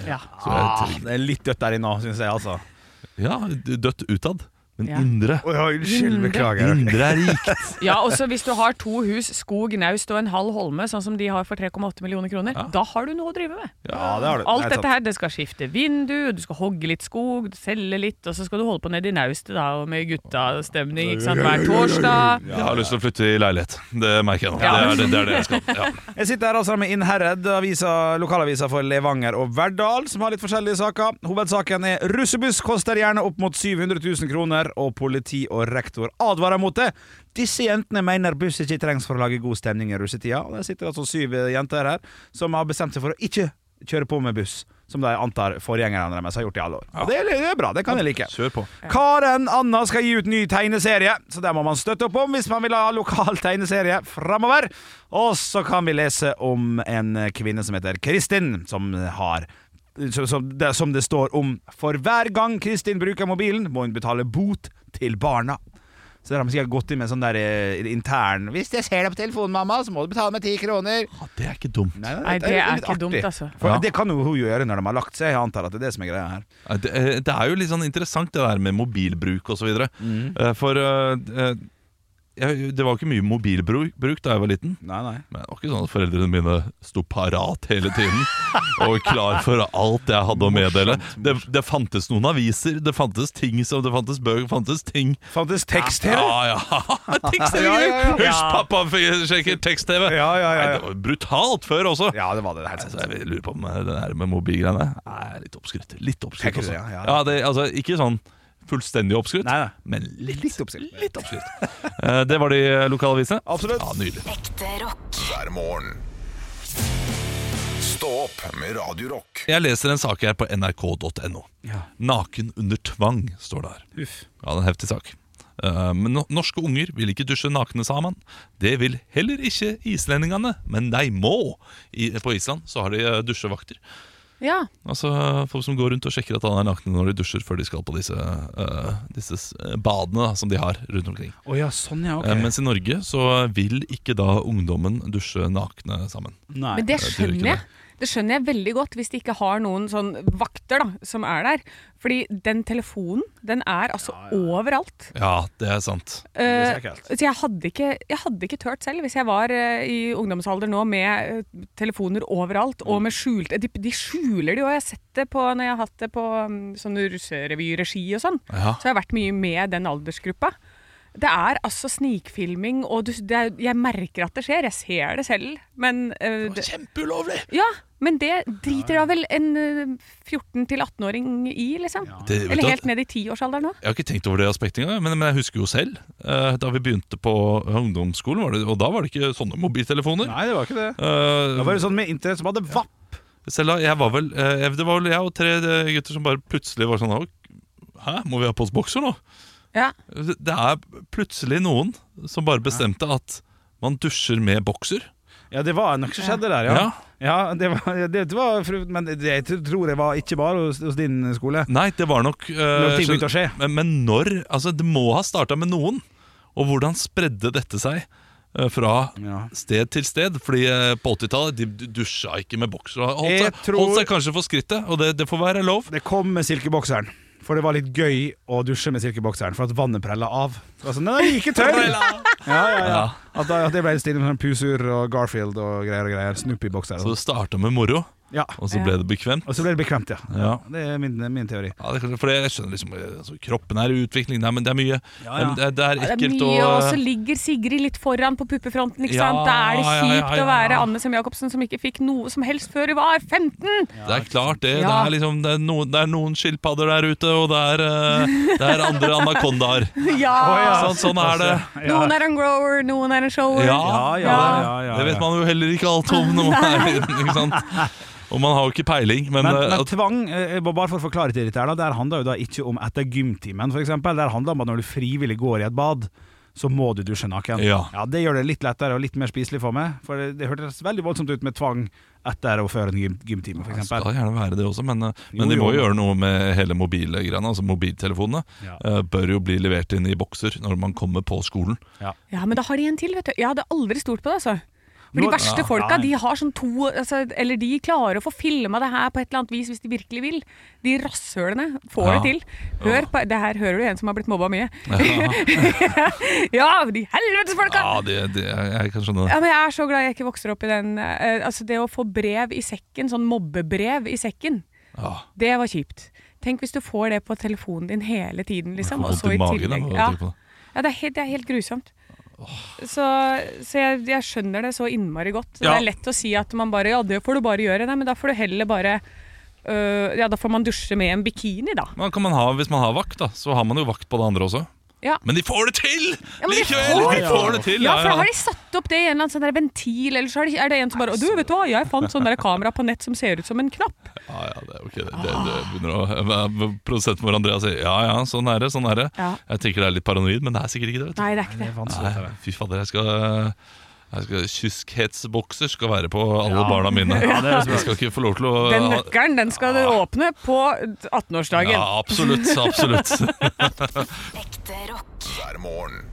[SPEAKER 4] Ja.
[SPEAKER 3] Så jeg,
[SPEAKER 2] ah, det er litt dødt der inne nå, syns jeg, altså.
[SPEAKER 3] tre- ja, dødt utad, men
[SPEAKER 4] Ja.
[SPEAKER 3] indre.
[SPEAKER 2] Oi, oi, unnskyld, beklager.
[SPEAKER 3] Indre er rikt.
[SPEAKER 4] Ja, og så hvis du har to hus, skog, naust og en halv holme, sånn som de har for 3,8 millioner kroner, da har du noe å drive med.
[SPEAKER 2] Ja, det har du.
[SPEAKER 4] Alt
[SPEAKER 2] Nei,
[SPEAKER 4] dette
[SPEAKER 2] sant.
[SPEAKER 4] her, det skal skifte vindu, du skal hogge litt skog, selge litt, og så skal du holde på nede i naustet da, og med guttastemning, ikke sant, hver torsdag.
[SPEAKER 3] Jeg har lyst til å flytte i leilighet. Det merker jeg nå.
[SPEAKER 4] Ja.
[SPEAKER 3] Det, er, det, det er det jeg skal. Ja.
[SPEAKER 2] Jeg sitter her altså med Innherred, avisa, lokalavisa for Levanger og Verdal, som har litt forskjellige saker. Hovedsaken er russebuss koster gjerne opp mot 700 000 kroner, og politi og rektor advarer mot det. Disse jentene mener buss ikke trengs for å lage god stemning i russetida. Og Der sitter altså syv jenter her som har bestemt seg for å ikke kjøre på med buss, som de antar forgjengerne deres har gjort i alle år. Og Det, er, det er bra, det kan jeg like.
[SPEAKER 3] Kjør på.
[SPEAKER 2] Karen Anna skal gi ut ny tegneserie, så der må man støtte opp om hvis man vil ha lokal tegneserie framover. Og så kan vi lese om en kvinne som heter Kristin, som har som- som det, som det står om For hver gang Kristin bruker mobilen, må hun betale bot til barna. Så der har man sikkert gått inn med sånn der eh, intern Hvis jeg ser deg på telefonen, mamma, så må du betale meg ti kroner.
[SPEAKER 3] Ja, det er ikke dumt.
[SPEAKER 2] Nei,
[SPEAKER 4] Nei, det er
[SPEAKER 2] litt
[SPEAKER 4] ikke dumt,
[SPEAKER 2] artig.
[SPEAKER 4] altså.
[SPEAKER 2] For
[SPEAKER 3] Ja.
[SPEAKER 2] Det kan jo hun gjøre når de har lagt seg. Jeg antar at det er det som er greia her.
[SPEAKER 3] Nei, Det, eh, det er jo litt sånn interessant det der med mobilbruk og så videre.
[SPEAKER 2] Mm.
[SPEAKER 3] Eh, For eh, eh, jeg, det var ikke mye mobilbruk bruk da jeg var liten.
[SPEAKER 2] Nei, nei.
[SPEAKER 3] Men det var ikke sånn at foreldrene mine sto parat hele tiden og klar for alt jeg hadde å meddele. Det, det fantes noen aviser, det fantes ting som det fantes bøker, det fantes ting.
[SPEAKER 2] Fantes tekst-TV?
[SPEAKER 3] Ja, ja. Tekst-TV!
[SPEAKER 2] Ja, ja, ja.
[SPEAKER 3] Husk, pappa f- sjekker tekst-TV!
[SPEAKER 2] Ja, ja, ja, ja.
[SPEAKER 3] Nei, Det var brutalt før også.
[SPEAKER 2] Ja, det var det. Helt
[SPEAKER 3] Altså,
[SPEAKER 2] sant.
[SPEAKER 3] jeg lurer på om det her med mobilgreiene er litt oppskrytt. Litt oppskrytt
[SPEAKER 2] Tenker du
[SPEAKER 3] også.
[SPEAKER 2] det, ja, ja.
[SPEAKER 3] Ja, det, altså, ikke sånn fullstendig oppskrytt,
[SPEAKER 2] Nei, nei.
[SPEAKER 3] men litt,
[SPEAKER 2] Litt oppskrytt.
[SPEAKER 3] Litt oppskrytt. Eh, det var de lokalavisene.
[SPEAKER 2] Absolutt.
[SPEAKER 3] Ja, nydelig.
[SPEAKER 5] Ekte rock.
[SPEAKER 1] hver morgen. Stå opp med Radio Rock.
[SPEAKER 3] Jeg leser en sak her på nrk.no.
[SPEAKER 2] Ja.
[SPEAKER 3] Naken under tvang, står det her.
[SPEAKER 2] Uff.
[SPEAKER 3] Ja, det er en heftig sak. Eh, Men no- norske unger vil ikke dusje nakne sammen. Det vil heller ikke islendingene, men de må. I, på Island så har de eh, dusjevakter.
[SPEAKER 4] Ja,
[SPEAKER 3] Altså Folk som går rundt og sjekker at han er nakne når de dusjer, før de skal på disse, eh, disse s- badene da, som de har rundt omkring.
[SPEAKER 2] Å ja, sånn ja, ok.
[SPEAKER 3] Eh, mens i Norge så vil ikke da ungdommen dusje nakne sammen.
[SPEAKER 2] Nei.
[SPEAKER 4] men det
[SPEAKER 3] jeg tror ikke
[SPEAKER 4] skjønner jeg. Det skjønner jeg veldig godt hvis de ikke har noen sånn vakter da, som er der. Fordi den telefonen, den er altså overalt.
[SPEAKER 3] Ja, det er sant.
[SPEAKER 2] er
[SPEAKER 4] Eh,
[SPEAKER 2] ekkelt.
[SPEAKER 4] så jeg hadde, ikke, jeg hadde ikke tørt selv hvis jeg var eh, i ungdomsalder nå med eh, telefoner overalt og med skjulte De, de skjuler det jo, jeg har sett det på, når jeg har hatt det på um, sånn russerevyregi og sånn.
[SPEAKER 3] Ja.
[SPEAKER 4] Så jeg har vært mye med den aldersgruppa. Det er altså snikfilming, og du, det er, jeg merker at det skjer. Jeg ser det selv, men eh, det,
[SPEAKER 3] Kjempeulovlig!
[SPEAKER 4] Ja, men det driter da vel en eh, 14- til 18-åring i, liksom?
[SPEAKER 3] Det- vet du
[SPEAKER 4] Eller
[SPEAKER 3] at-
[SPEAKER 4] helt ned i 10-årsalderen nå?
[SPEAKER 3] Jeg har ikke tenkt over det aspektet engang, men, men jeg husker jo selv. eh, da vi begynte på ungdomsskolen, var det, og da var det ikke sånne mobiltelefoner.
[SPEAKER 2] Nei, det var ikke det.
[SPEAKER 3] Eh,
[SPEAKER 2] Det var jo sånn med internett som hadde vapp.
[SPEAKER 3] Selv da, jeg var vel eh, jeg- Det var vel jeg og tre eh, gutter som bare plutselig var sånn «Å, Hæ, må vi ha på oss bokser nå?
[SPEAKER 4] Ja.
[SPEAKER 3] Det det er plutselig noen som bare bestemte at man dusjer med bokser.
[SPEAKER 2] Ja, det var nok som skjedde der, ja.
[SPEAKER 3] Ja.
[SPEAKER 2] Ja, det var, det var fru- Men det, jeg tror det var ikke bare hos, hos din skole.
[SPEAKER 3] Nei, det var nok eh,
[SPEAKER 2] Når ting begynte å skje.
[SPEAKER 3] Men, men når Altså, det må ha starta med noen. Og hvordan spredde dette seg? eh, Fra
[SPEAKER 2] Ja.
[SPEAKER 3] sted til sted. Fordi eh, på 80-tallet de d- dusja ikke med bokser. og Holdt
[SPEAKER 2] Jeg
[SPEAKER 3] seg,
[SPEAKER 2] tror-
[SPEAKER 3] holdt seg kanskje for skrittet, og det, det får være lov.
[SPEAKER 2] Det kom med silkebokseren. For det var litt gøy å dusje med silkebokseren, for at vannet prella av. Det var sånn, Nei, den gikk ikke tørr! Ja, ja, ja.
[SPEAKER 3] Ja.
[SPEAKER 2] At, da, at det ble en stil med sånn Pusur og Garfield og greier og greier. Snoopy-bokser.
[SPEAKER 3] Så
[SPEAKER 2] og sånn.
[SPEAKER 3] det starta med moro.
[SPEAKER 2] Ja.
[SPEAKER 3] og så ble det bekvemt.
[SPEAKER 2] Og så ble det bekvemt, ja.
[SPEAKER 3] Ja.
[SPEAKER 2] Det er min, min teori.
[SPEAKER 3] Ja, det er kanskje, for jeg skjønner liksom eh, altså, Kroppen er i utvikling, nei, men det er mye.
[SPEAKER 2] Ja, ja.
[SPEAKER 3] Det, er- det er
[SPEAKER 4] Ja, det er
[SPEAKER 3] ekkelt
[SPEAKER 4] mye, og så
[SPEAKER 3] og
[SPEAKER 4] ligger Sigrid litt foran på puppefronten. ikke
[SPEAKER 3] Ja,
[SPEAKER 4] sant? Da er det
[SPEAKER 3] ja,
[SPEAKER 4] kjipt
[SPEAKER 3] ja, ja,
[SPEAKER 4] å være
[SPEAKER 3] ja.
[SPEAKER 4] Anne Sem Jacobsen som ikke fikk noe som helst før hun var 15!
[SPEAKER 3] Det er klart, det. Det,
[SPEAKER 4] Ja.
[SPEAKER 3] er liksom, det, er noen, det er noen skilpadder der ute, og det er, eh, det er andre anakondaer.
[SPEAKER 4] Ja!
[SPEAKER 3] Sånn, sånn er det.
[SPEAKER 4] Noen er en grower, noen er en shower.
[SPEAKER 3] Ja,
[SPEAKER 2] Ja, ja,
[SPEAKER 4] Ja.
[SPEAKER 2] ja, ja,
[SPEAKER 3] Det
[SPEAKER 2] ja.
[SPEAKER 3] vet man jo heller ikke alt om når man er liten. ikke sant? Og man har jo ikke peiling, men,
[SPEAKER 2] Men,
[SPEAKER 3] eh,
[SPEAKER 2] men
[SPEAKER 3] at-
[SPEAKER 2] tvang, eh, bare for å forklare til dette her, da, der handler jo da ikke om etter gymtimen, for eksempel. Der handler det om at når du frivillig går i et bad, så må du dusje naken.
[SPEAKER 3] Ja.
[SPEAKER 2] Det gjør det litt lettere og litt mer spiselig for meg. For det, det hørtes veldig voldsomt ut med tvang etter og før en gym, gymtime,
[SPEAKER 3] Det skal
[SPEAKER 2] f.eks.
[SPEAKER 3] gjerne være det også, men, eh,
[SPEAKER 2] Jo,
[SPEAKER 3] men de må
[SPEAKER 2] jo.
[SPEAKER 3] jo gjøre noe med hele mobilgreiene. Altså mobiltelefonene
[SPEAKER 2] Ja.
[SPEAKER 3] eh, bør jo bli levert inn i bokser når man kommer på skolen.
[SPEAKER 4] Ja, men da har de en til, vet du. Jeg hadde aldri stolt på det, altså. For
[SPEAKER 2] Nå-
[SPEAKER 4] de verste
[SPEAKER 2] Ja,
[SPEAKER 4] folka,
[SPEAKER 2] nei.
[SPEAKER 4] de har sånn to altså, Eller de klarer å få filma det her på et eller annet vis hvis de virkelig vil. De rasshølene får
[SPEAKER 3] Ja.
[SPEAKER 4] det til. Hør på Det her hører du en som har blitt mobba mye. ja, de helvetes folka!
[SPEAKER 3] Ja, det, det, jeg kan skjønne det.
[SPEAKER 4] Ja, men Jeg er så glad jeg ikke vokser opp i den eh, Altså Det å få brev i sekken, sånn mobbebrev i sekken,
[SPEAKER 3] Ja.
[SPEAKER 4] det var kjipt. Tenk hvis du får det på telefonen din hele tiden, liksom.
[SPEAKER 3] Får
[SPEAKER 4] Og så
[SPEAKER 3] vondt i
[SPEAKER 4] i
[SPEAKER 3] magen av
[SPEAKER 4] tillegg.
[SPEAKER 3] å
[SPEAKER 4] Ja,
[SPEAKER 3] tenke på det.
[SPEAKER 4] ja det, er helt, det er helt grusomt. Så, så jeg, jeg skjønner det så innmari godt. Det
[SPEAKER 2] Ja.
[SPEAKER 4] er lett å si at man bare Ja, det får du bare gjøre. Nei, men da får du heller bare øh, Ja, da får man dusje med en bikini, da.
[SPEAKER 3] Men kan man ha, hvis man har vakt, da, så har man jo vakt på det andre også.
[SPEAKER 4] Ja.
[SPEAKER 3] Men de får det til!
[SPEAKER 4] Ja, men de
[SPEAKER 3] Likevel!
[SPEAKER 4] får
[SPEAKER 3] De
[SPEAKER 2] det
[SPEAKER 3] får
[SPEAKER 2] til!
[SPEAKER 3] det til!
[SPEAKER 4] Ja,
[SPEAKER 3] ja,
[SPEAKER 4] for da
[SPEAKER 3] ja.
[SPEAKER 4] har de satt opp det i en eller annen sånn der ventil, eller så er det, er det en som bare «Å, Du, vet du hva, jeg fant sånn der kamera på nett som ser ut som en knapp.
[SPEAKER 3] Ja, ja, det er ok. Det, det, det
[SPEAKER 4] Ah.
[SPEAKER 3] begynner å Produsenten vår Andrea sier ja, ja, sånn er det. sånn er det
[SPEAKER 4] Ja.
[SPEAKER 3] Jeg tenker det er litt paranoid, men det er sikkert ikke det. vet du
[SPEAKER 4] Nei, det er ikke
[SPEAKER 2] Det
[SPEAKER 4] det.
[SPEAKER 2] er vanskelig.
[SPEAKER 3] Nei,
[SPEAKER 2] dette her.
[SPEAKER 3] fy fader, jeg skal jeg skal, Kyskhetsbokser skal være på alle barna mine.
[SPEAKER 2] det høres bra
[SPEAKER 3] jeg skal ikke få lov til å
[SPEAKER 4] Den nøkkelen den skal du åpne på
[SPEAKER 3] Ja,
[SPEAKER 4] 18-årsdagen.
[SPEAKER 3] absolutt. absolutt
[SPEAKER 5] Ekte rock.
[SPEAKER 1] hver morgen.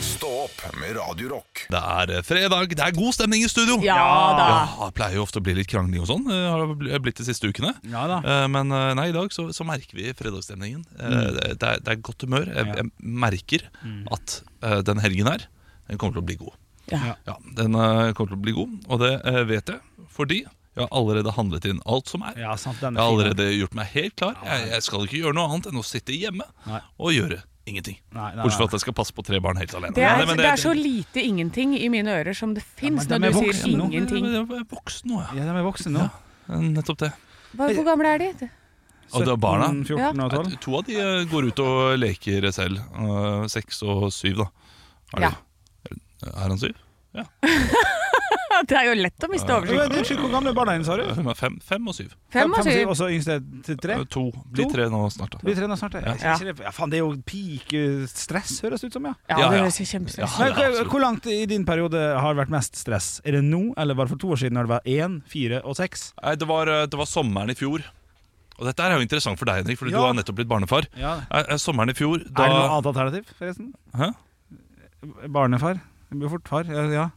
[SPEAKER 1] Stå opp med Radio Rock.
[SPEAKER 3] Det er eh, fredag, det er god stemning i studio.
[SPEAKER 4] Ja da.
[SPEAKER 3] Ja, det pleier jo ofte å bli litt krangling og sånn. eh, Har det bl- blitt de siste ukene.
[SPEAKER 2] Ja da.
[SPEAKER 3] Eh, Men eh, nei, i dag så, så merker vi fredagsstemningen. Eh,
[SPEAKER 2] Mm.
[SPEAKER 3] Det, det er, det er godt humør. Jeg, jeg merker at eh, den helgen her, den kommer til å bli god.
[SPEAKER 4] Ja.
[SPEAKER 3] Ja, Den eh, kommer til å bli god, og det eh, vet jeg fordi jeg har allerede handlet inn alt som er.
[SPEAKER 2] Ja, sant, den
[SPEAKER 3] Jeg
[SPEAKER 2] er
[SPEAKER 3] har
[SPEAKER 2] fin, den.
[SPEAKER 3] allerede gjort meg helt klar. Jeg, jeg skal ikke gjøre noe annet enn å sitte hjemme
[SPEAKER 2] Nei.
[SPEAKER 3] og gjøre ingenting.
[SPEAKER 2] Nei, nei,
[SPEAKER 3] Bortsett fra
[SPEAKER 2] nei.
[SPEAKER 3] at jeg skal passe på tre barn helt alene.
[SPEAKER 4] Det er,
[SPEAKER 3] Nei, men
[SPEAKER 4] det er så lite ingenting i mine ører som det fins
[SPEAKER 2] Ja, men
[SPEAKER 4] når
[SPEAKER 2] de er
[SPEAKER 4] du sier
[SPEAKER 2] voksne nå.
[SPEAKER 4] ingenting.
[SPEAKER 3] Jeg er voksen nå, ja.
[SPEAKER 2] Ja, de er voksne nå.
[SPEAKER 3] Nettopp det.
[SPEAKER 4] Hva- Hvor gamle er de?
[SPEAKER 3] Og det er barna.
[SPEAKER 2] 17, 14 og 12.
[SPEAKER 3] Nei, To av de eh, går ut og leker selv. Eh, Seks og syv, da. Er,
[SPEAKER 4] Ja.
[SPEAKER 3] det- er han syv?
[SPEAKER 4] Det er jo lett å miste
[SPEAKER 2] Du
[SPEAKER 4] oversikt.
[SPEAKER 2] er sjuk hvor gamle barna dine, sa du?
[SPEAKER 3] Hun er fem, fem og syv.
[SPEAKER 4] Fem og
[SPEAKER 2] syv,
[SPEAKER 4] syv.
[SPEAKER 2] Og så yngste til tre?
[SPEAKER 3] Eh, To. Blir
[SPEAKER 2] To?
[SPEAKER 3] tre nå snart, da.
[SPEAKER 2] Blir tre nå snart, ja.
[SPEAKER 4] Ja.
[SPEAKER 2] Ikke det- ja. Faen, det er jo peak-stress, høres det ut som, ja.
[SPEAKER 4] Ja,
[SPEAKER 3] Ja,
[SPEAKER 4] det
[SPEAKER 3] ja.
[SPEAKER 4] høres jo kjempestress
[SPEAKER 2] Men,
[SPEAKER 3] Ja,
[SPEAKER 2] hva-
[SPEAKER 3] absolutt.
[SPEAKER 2] hvor langt i din periode har det vært mest stress? Er det nå, eller var det for to år siden når det var én, fire og seks?
[SPEAKER 3] Nei, det var, eh, det var sommeren i fjor. Og dette her er jo interessant for deg, Henrik, fordi
[SPEAKER 2] Ja.
[SPEAKER 3] du har nettopp blitt barnefar.
[SPEAKER 2] Ja.
[SPEAKER 3] Eh, eh, Sommeren i fjor, da
[SPEAKER 2] Er det noe annet alternativ, forresten?
[SPEAKER 3] Hæ?
[SPEAKER 2] Barnefar? Det blir fort far, ja. ja.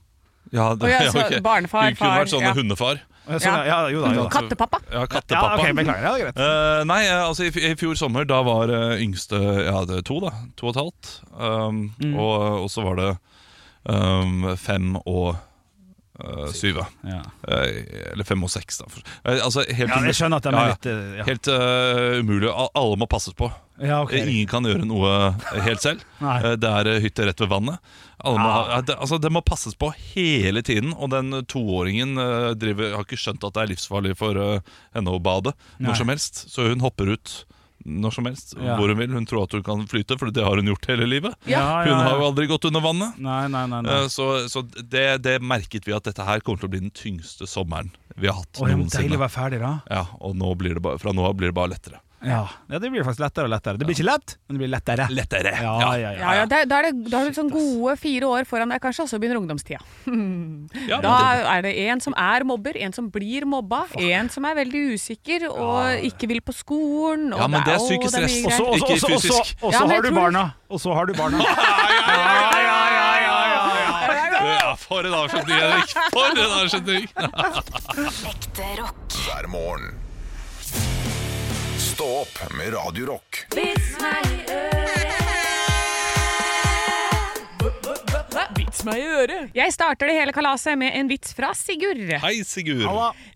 [SPEAKER 3] Ja, det,
[SPEAKER 4] Å, ja,
[SPEAKER 3] ja,
[SPEAKER 4] så
[SPEAKER 3] ok.
[SPEAKER 4] barnefar,
[SPEAKER 3] Du kunne
[SPEAKER 4] far,
[SPEAKER 3] vært sånn altså.
[SPEAKER 4] ja.
[SPEAKER 3] hundefar.
[SPEAKER 2] Ja, Sånn, ja. jo da, jo da.
[SPEAKER 4] Kattepappa.
[SPEAKER 3] Ja,
[SPEAKER 2] Ja,
[SPEAKER 3] kattepappa.
[SPEAKER 2] ok, beklager, ja, det er greit.
[SPEAKER 3] Eh, nei, eh, altså i, f- i fjor sommer da var eh, yngste ja, det er to, da. To og et halvt. Um,
[SPEAKER 2] Mm.
[SPEAKER 3] og, og så var det um, fem og eh, syv. ja.
[SPEAKER 2] Ja.
[SPEAKER 3] Eh, eller fem og seks, da. For- eh, altså, helt,
[SPEAKER 2] Ja, jeg skjønner at de
[SPEAKER 3] Ja,
[SPEAKER 2] er
[SPEAKER 3] ja.
[SPEAKER 2] litt eh, Ja,
[SPEAKER 3] Helt eh, umulig. Al- Alle må passes på.
[SPEAKER 2] ja ok.
[SPEAKER 3] Eh, Ingen kan gjøre noe helt selv.
[SPEAKER 2] Nei.
[SPEAKER 3] Eh, Det er eh, hytte rett ved vannet. Alle må, ha- ja, det, altså, det må passes på hele tiden. Og den toåringen eh, driver, har ikke skjønt at det er livsfarlig for eh, henne å bade
[SPEAKER 2] Nei.
[SPEAKER 3] når som helst. Så hun hopper ut når som helst,
[SPEAKER 2] Ja.
[SPEAKER 3] hvor hun vil. Hun tror at hun kan flyte, for det har hun gjort hele livet.
[SPEAKER 2] Ja,
[SPEAKER 3] Hun
[SPEAKER 2] ja,
[SPEAKER 3] har jo
[SPEAKER 2] ja.
[SPEAKER 3] aldri gått under vannet.
[SPEAKER 2] Nei, nei, nei.
[SPEAKER 3] Eh,
[SPEAKER 2] nei.
[SPEAKER 3] Så, så det, det merket vi at dette her kommer til å bli den tyngste sommeren vi har hatt
[SPEAKER 2] Å, ja, men deilig å
[SPEAKER 3] noensinne.
[SPEAKER 2] være ferdig, da.
[SPEAKER 3] Ja, og nå blir det bare, fra nå av blir det bare lettere.
[SPEAKER 2] Ja. ja, det blir faktisk lettere og lettere. Det blir ikke lett, men det blir lettere.
[SPEAKER 3] Lettere!
[SPEAKER 2] Ja, ja, ja.
[SPEAKER 4] Ja, ja, da, da, er det, da har du sånn gode fire år foran deg, kanskje, og så begynner ungdomstida.
[SPEAKER 3] Ja, men
[SPEAKER 4] Da
[SPEAKER 3] det-
[SPEAKER 4] er det en som er mobber, en som blir mobba, en som er veldig usikker og ikke vil på skolen. Og
[SPEAKER 3] Ja, men det er psykisk
[SPEAKER 4] å, det er mye
[SPEAKER 3] stress.
[SPEAKER 2] Og så-
[SPEAKER 4] greier.
[SPEAKER 3] Ikke
[SPEAKER 2] og så- og så- og så-
[SPEAKER 3] fysisk.
[SPEAKER 2] og
[SPEAKER 4] Ja,
[SPEAKER 2] så
[SPEAKER 4] men
[SPEAKER 2] har du
[SPEAKER 4] jeg tror-
[SPEAKER 2] barna. Og så har du barna.
[SPEAKER 3] Ja, for en avslutning, Henrik! For en avslutning!
[SPEAKER 5] Ekte rock.
[SPEAKER 1] hver morgen. Stå opp med Radio Rock.
[SPEAKER 4] Vits vits meg i øret. Jeg starter det hele kalaset med en vits fra Sigurd.
[SPEAKER 3] Hei, Sigurd.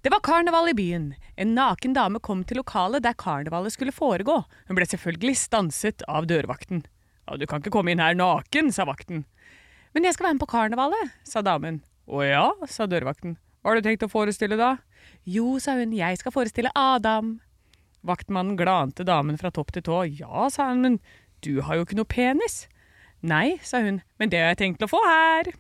[SPEAKER 4] Det var karneval i byen. En naken dame kom til lokalet der karnevalet skulle foregå. Hun ble selvfølgelig stanset av dørvakten. «Ja, Du kan ikke komme inn her naken, sa vakten. Men jeg skal være med på karnevalet, sa damen. Å ja, sa dørvakten. Hva har du tenkt å forestille da? Jo, sa hun, jeg skal forestille Adam. Vaktmannen glante damen fra topp til tå. Ja, sa han, men du har jo ikke noe penis. Nei, sa hun, men det har jeg tenkt å få her.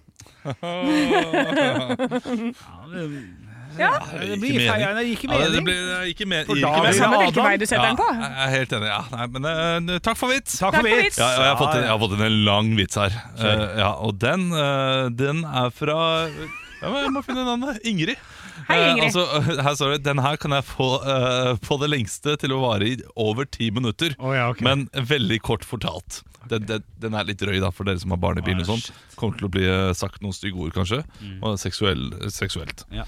[SPEAKER 2] Det blir feil, det gir ikke
[SPEAKER 3] Ja, det
[SPEAKER 2] mening.
[SPEAKER 3] blir det gikk ikke me-
[SPEAKER 2] For
[SPEAKER 3] gikk
[SPEAKER 2] da
[SPEAKER 3] ikke
[SPEAKER 2] er
[SPEAKER 3] mening.
[SPEAKER 2] det samme
[SPEAKER 4] rekkeveie du setter
[SPEAKER 3] ja,
[SPEAKER 4] den på.
[SPEAKER 3] Jeg er helt enig. Ja, nei, men eh, takk for vits.
[SPEAKER 2] Takk for
[SPEAKER 4] for
[SPEAKER 2] vits.
[SPEAKER 4] vits.
[SPEAKER 3] Ja, ja, jeg, har fått en, jeg
[SPEAKER 2] Ja,
[SPEAKER 3] har fått en lang vits her. Eh, ja, og den, eh, den er fra ja, men Jeg må finne navnet. Ingrid.
[SPEAKER 4] Hei,
[SPEAKER 3] Eh,
[SPEAKER 4] Ingrid.
[SPEAKER 3] altså, eh, her står det Den her kan jeg få eh, på det lengste til å vare i over ti minutter.
[SPEAKER 2] Å, ja, ok.
[SPEAKER 3] Men veldig kort fortalt. Den, den, den er litt drøy da for dere som har barn i bilen. og sånn Kommer til å bli eh, sagt noen stygge ord, kanskje. Og seksuell, seksuelt.
[SPEAKER 2] Ja.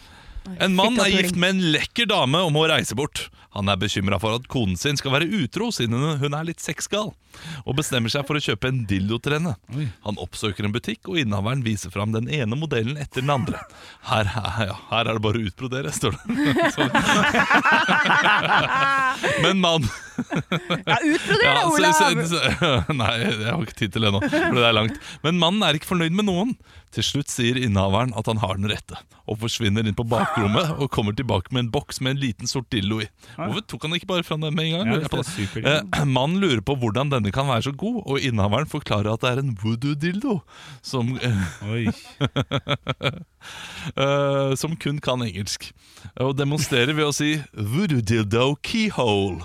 [SPEAKER 3] En mann er
[SPEAKER 4] Fitta-puling.
[SPEAKER 3] gift med en lekker dame og må reise bort. Han er bekymra for at konen sin skal være utro siden hun er litt sexgal, og bestemmer seg for å kjøpe en dildo til henne. Han oppsøker en butikk, og innehaveren viser fram den ene modellen etter den andre. Her, er- ja, her er det bare å utbrodere, står det. Så- Men mannen
[SPEAKER 4] Ja, utbroder,
[SPEAKER 3] ja, så-
[SPEAKER 4] Olav!
[SPEAKER 3] så- så- nei, jeg har ikke tid til det nå, for det er langt. Men mannen er ikke fornøyd med noen. Til slutt sier innehaveren at han har den rette, og forsvinner inn på bakrommet og kommer tilbake med en boks med en liten sort dildo i. Hvorfor tok han ikke bare fram den med en gang?
[SPEAKER 2] Ja,
[SPEAKER 3] lurer jeg på
[SPEAKER 2] det er
[SPEAKER 3] da. Eh, mannen lurer på hvordan denne kan være så god, og innehaveren forklarer at det er en voodoo-dildo som, eh,
[SPEAKER 2] Oi.
[SPEAKER 3] eh, som kun kan engelsk, og demonstrerer ved å si voodoo-dildo keyhole.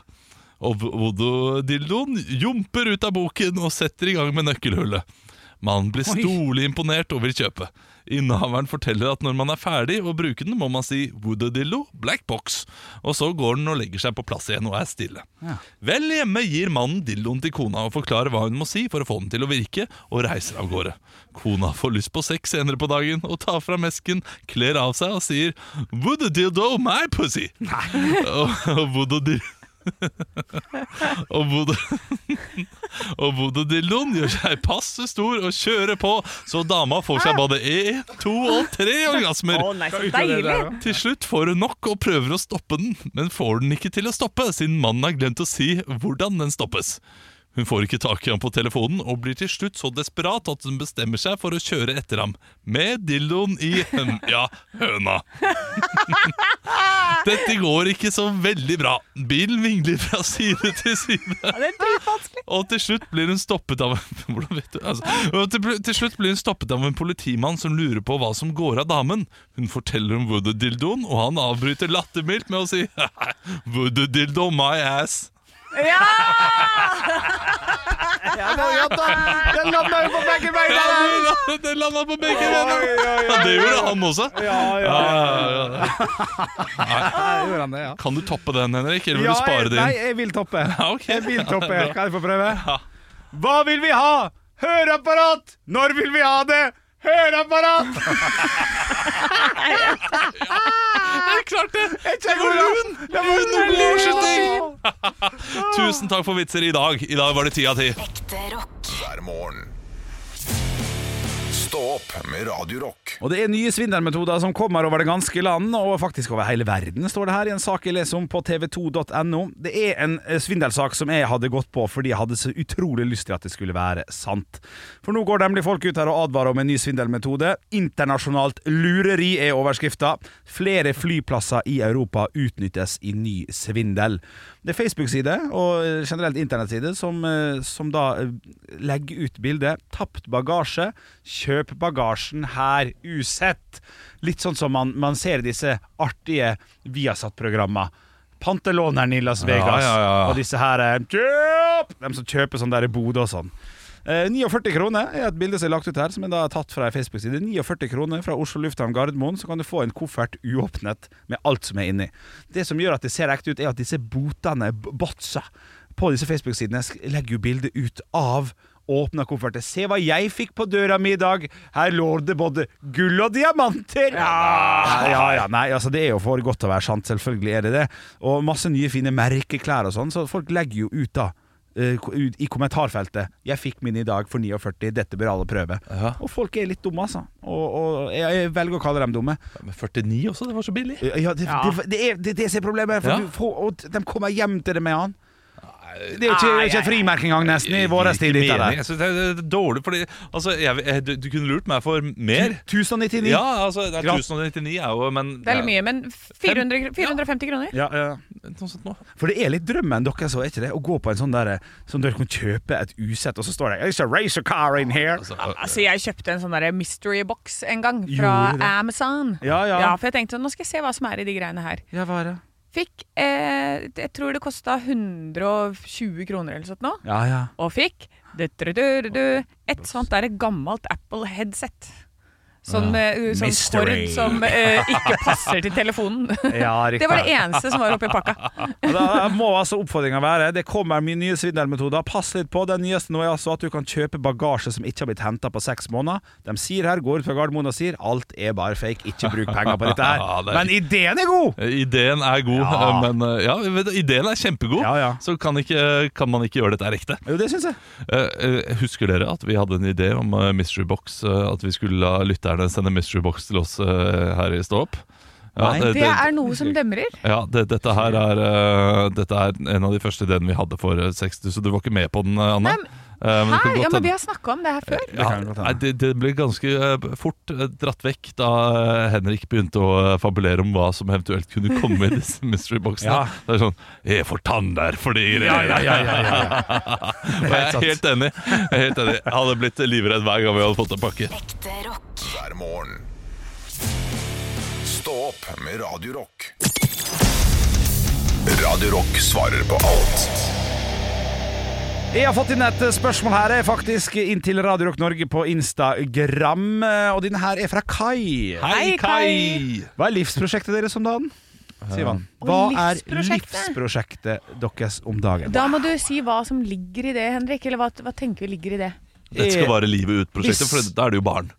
[SPEAKER 3] Og voodoo-dildoen jumper ut av boken og setter i gang med nøkkelhullet. Mannen blir storlig imponert og vil kjøpe. Innehaveren forteller at når man er ferdig å bruke den, må man si voodoo-dildo, black box, og så går den og legger seg på plass igjen og er stille. Vel hjemme gir mannen dildoen til kona og forklarer hva hun må si for å få den til å virke, og reiser av gårde. Kona får lyst på sex senere på dagen og tar fram esken, kler av seg og sier voodoo-dildo, my pussy! Og, og voodoo-dildo og Bodø Og Bodø-dildoen gjør seg passe stor og kjører på, så dama får seg både E, to og tre orgasmer.
[SPEAKER 4] Å nei, så deilig!
[SPEAKER 3] Til slutt får hun nok og prøver å stoppe den, men får den ikke til å stoppe, siden mannen har glemt å si hvordan den stoppes. Hun får ikke tak i ham på telefonen, og blir til slutt så desperat at hun bestemmer seg for å kjøre etter ham, med dildoen i høn ja, høna. Dette går ikke så veldig bra. Bilen vingler fra side til side.
[SPEAKER 4] Ja, det er dritvanskelig.
[SPEAKER 3] Og til slutt blir hun stoppet av Hvordan vet du? Altså, og til, til slutt blir hun stoppet av en politimann som lurer på hva som går av damen. Hun forteller om voodoo-dildoen, og han avbryter lattermildt med å si voodoo-dildo my ass.
[SPEAKER 4] Ja!
[SPEAKER 2] Den landa jo på begge
[SPEAKER 3] Ja, den la- Den landa på begge venner! Ja, det gjorde han også. Ja, ja, ja.
[SPEAKER 2] Gjør han det, ja?
[SPEAKER 3] Kan du toppe den, Henrik, eller vil
[SPEAKER 2] Ja,
[SPEAKER 3] du spare
[SPEAKER 2] jeg, nei,
[SPEAKER 3] din?
[SPEAKER 2] jeg vil toppe.
[SPEAKER 3] Ja, ok.
[SPEAKER 2] Jeg vil toppe. Kan jeg få prøve? Hva vil vi ha? Høreapparat! Når vil vi ha det? Høreapparat!
[SPEAKER 3] Jeg klarte det!
[SPEAKER 2] Jeg kjenner hvordan-
[SPEAKER 3] Det var lun oversetting! Tusen takk for vitser i dag. I dag var det ti av ti.
[SPEAKER 5] Ekte rock.
[SPEAKER 1] hver morgen. Stå opp med Radio Rock.
[SPEAKER 2] Og det er nye svindelmetoder som kommer over det ganske land, og faktisk over hele verden, står det her i en sak jeg leser om på tv2.no. Det er en eh, svindelsak som jeg hadde gått på fordi jeg hadde så utrolig lyst til at det skulle være sant. For nå går nemlig folk ut her og advarer om en ny svindelmetode. Internasjonalt lureri er overskrifta. Flere flyplasser i Europa utnyttes i ny svindel. Det er Facebook-side og eh, generelt internettside som, eh, som da eh, legger ut bilde. Tapt bagasje. Kjøp bagasjen her usett. Litt sånn som man, man ser i disse artige Viasat-programma. Pantelåneren i Las Vegas
[SPEAKER 3] ja, ja.
[SPEAKER 2] og disse her eh, Kjøp! De som kjøper sånn der i Bodø og sånn. Eh, 49 kroner er et bilde som er lagt ut her, som er da tatt fra en Facebook-side. 49 kroner fra Oslo lufthavn Gardermoen, så kan du få en koffert uåpnet med alt som er inni. Det som gjør at det ser ekte ut, er at disse botene, b- botsa, på disse Facebook-sidene sk- legger jo bildet ut av åpna kofferter. Se hva jeg fikk på døra mi i dag! Her lå det både gull og diamanter! Ja, ja, ja, nei, altså Det er jo for godt til å være sant, selvfølgelig er det det. Og masse nye fine merkeklær og sånn, så folk legger jo ut da eh, ko- ut- i kommentarfeltet 'Jeg fikk min i dag for 49, dette bør alle prøve'.
[SPEAKER 3] Ja.
[SPEAKER 2] Og folk er litt dumme, altså. Og, og jeg, jeg velger å kalle dem dumme.
[SPEAKER 3] Men 49 også, det var så billig.
[SPEAKER 2] Ja, det,
[SPEAKER 4] Ja.
[SPEAKER 2] Det, det er det, er det som er problemet. For
[SPEAKER 3] Ja.
[SPEAKER 2] du får, og de kommer hjem til det med han. Det er jo ikke, det er ikke frimerke engang, nesten, i vår
[SPEAKER 3] Ikke
[SPEAKER 2] tid. dette
[SPEAKER 3] mening.
[SPEAKER 2] der.
[SPEAKER 3] Jeg synes det, er, det er dårlig, fordi altså, jeg, jeg, du, du kunne lurt meg for mer.
[SPEAKER 2] 1099.
[SPEAKER 3] Ja, altså, det er
[SPEAKER 2] Ja.
[SPEAKER 3] 1099 er jo Men
[SPEAKER 4] Det er litt mye, men 400, kr- 450 kroner?
[SPEAKER 2] Ja, ja.
[SPEAKER 4] sånn
[SPEAKER 3] Noe sånt nå.
[SPEAKER 2] For det er litt drømmen deres òg, er ikke det? Å gå på en sånn der eh, Sånn dere kan kjøpe et usett, og så står det 'It's a racer car in here'.
[SPEAKER 3] Altså,
[SPEAKER 4] Altså, jeg kjøpte en sånn der mystery box en gang fra
[SPEAKER 2] Gjorde du det?
[SPEAKER 4] Amazon.
[SPEAKER 2] Ja, ja.
[SPEAKER 4] For jeg tenkte sånn, nå skal jeg se hva som er i de greiene her.
[SPEAKER 2] Ja, hva er det?
[SPEAKER 4] Fikk eh, Jeg tror det kosta 120 kroner eller sånt nå.
[SPEAKER 2] Ja, ja.
[SPEAKER 4] Og fikk du, du, du, du, du, et sånt der gammelt Apple headset. Sånn, eh, sånn cord
[SPEAKER 2] Mystery.
[SPEAKER 4] som eh, ikke passer til telefonen.
[SPEAKER 2] ja
[SPEAKER 4] Det var det eneste som var oppi pakka.
[SPEAKER 2] Og Da må altså oppfordringa være Det kommer mye nye svindelmetoder. Pass litt på. Den nyeste nå er altså at du kan kjøpe bagasje som ikke har blitt henta på seks måneder. De sier her, går ut fra Gardermoen og sier alt er bare fake, ikke bruk penger på dette
[SPEAKER 3] Ja,
[SPEAKER 2] her.
[SPEAKER 3] det er-
[SPEAKER 2] Men ideen er god!
[SPEAKER 3] eh, Ideen er god,
[SPEAKER 2] Ja.
[SPEAKER 3] men eh, ja, vet du, ideen er kjempegod.
[SPEAKER 2] Ja, ja.
[SPEAKER 3] Så kan, ikke, eh, kan man ikke gjøre dette ekte.
[SPEAKER 2] Jo, det syns jeg.
[SPEAKER 3] Eh, eh, Husker dere at vi hadde en idé om eh, Mystery Box? eh, At vi skulle la lytterne sende Mystery Box til oss eh, her i Stå opp? Ja,
[SPEAKER 2] Nei.
[SPEAKER 4] Det er noe som demrer.
[SPEAKER 3] ja, det, dette her er eh, Dette er en av de første ideene vi hadde for eh, 60, så du var ikke med på den, eh, Anne?
[SPEAKER 4] Nei,
[SPEAKER 3] Eh, men det kan
[SPEAKER 4] Her?
[SPEAKER 3] godt
[SPEAKER 4] Ja, men
[SPEAKER 3] hende- Eh,
[SPEAKER 4] vi har snakka om det her før.
[SPEAKER 2] Det kan godt hende.
[SPEAKER 3] nei, det, det ble ganske eh, fort eh, dratt vekk da eh, Henrik begynte å eh, fabulere om hva som eventuelt kunne komme i disse mystery boxene.
[SPEAKER 2] Ja.
[SPEAKER 3] Det er sånn Jeg får tann der fordi Og jeg er helt enig. Jeg er helt enig. Jeg hadde blitt livredd hver gang vi hadde fått en pakke.
[SPEAKER 5] Ekte rock.
[SPEAKER 1] hver morgen. Stå opp med Radio Rock. Radio Rock svarer på alt
[SPEAKER 2] Jeg har fått inn et spørsmål her, eh, faktisk, inn til Radio Rock Norge på Instagram. eh, Og denne her er fra Kai.
[SPEAKER 4] Hei, Kai.
[SPEAKER 2] Hva er livsprosjektet deres om dagen? Sier han.
[SPEAKER 4] Og
[SPEAKER 2] Hva er
[SPEAKER 4] livsprosjektet?
[SPEAKER 2] livsprosjektet deres om dagen?
[SPEAKER 4] Da må du si hva som ligger i det, Henrik. Eller hva, hva tenker vi ligger i det?
[SPEAKER 3] Dette
[SPEAKER 4] Eh,
[SPEAKER 3] skal vare livet ut-prosjektet, for da er det jo barn.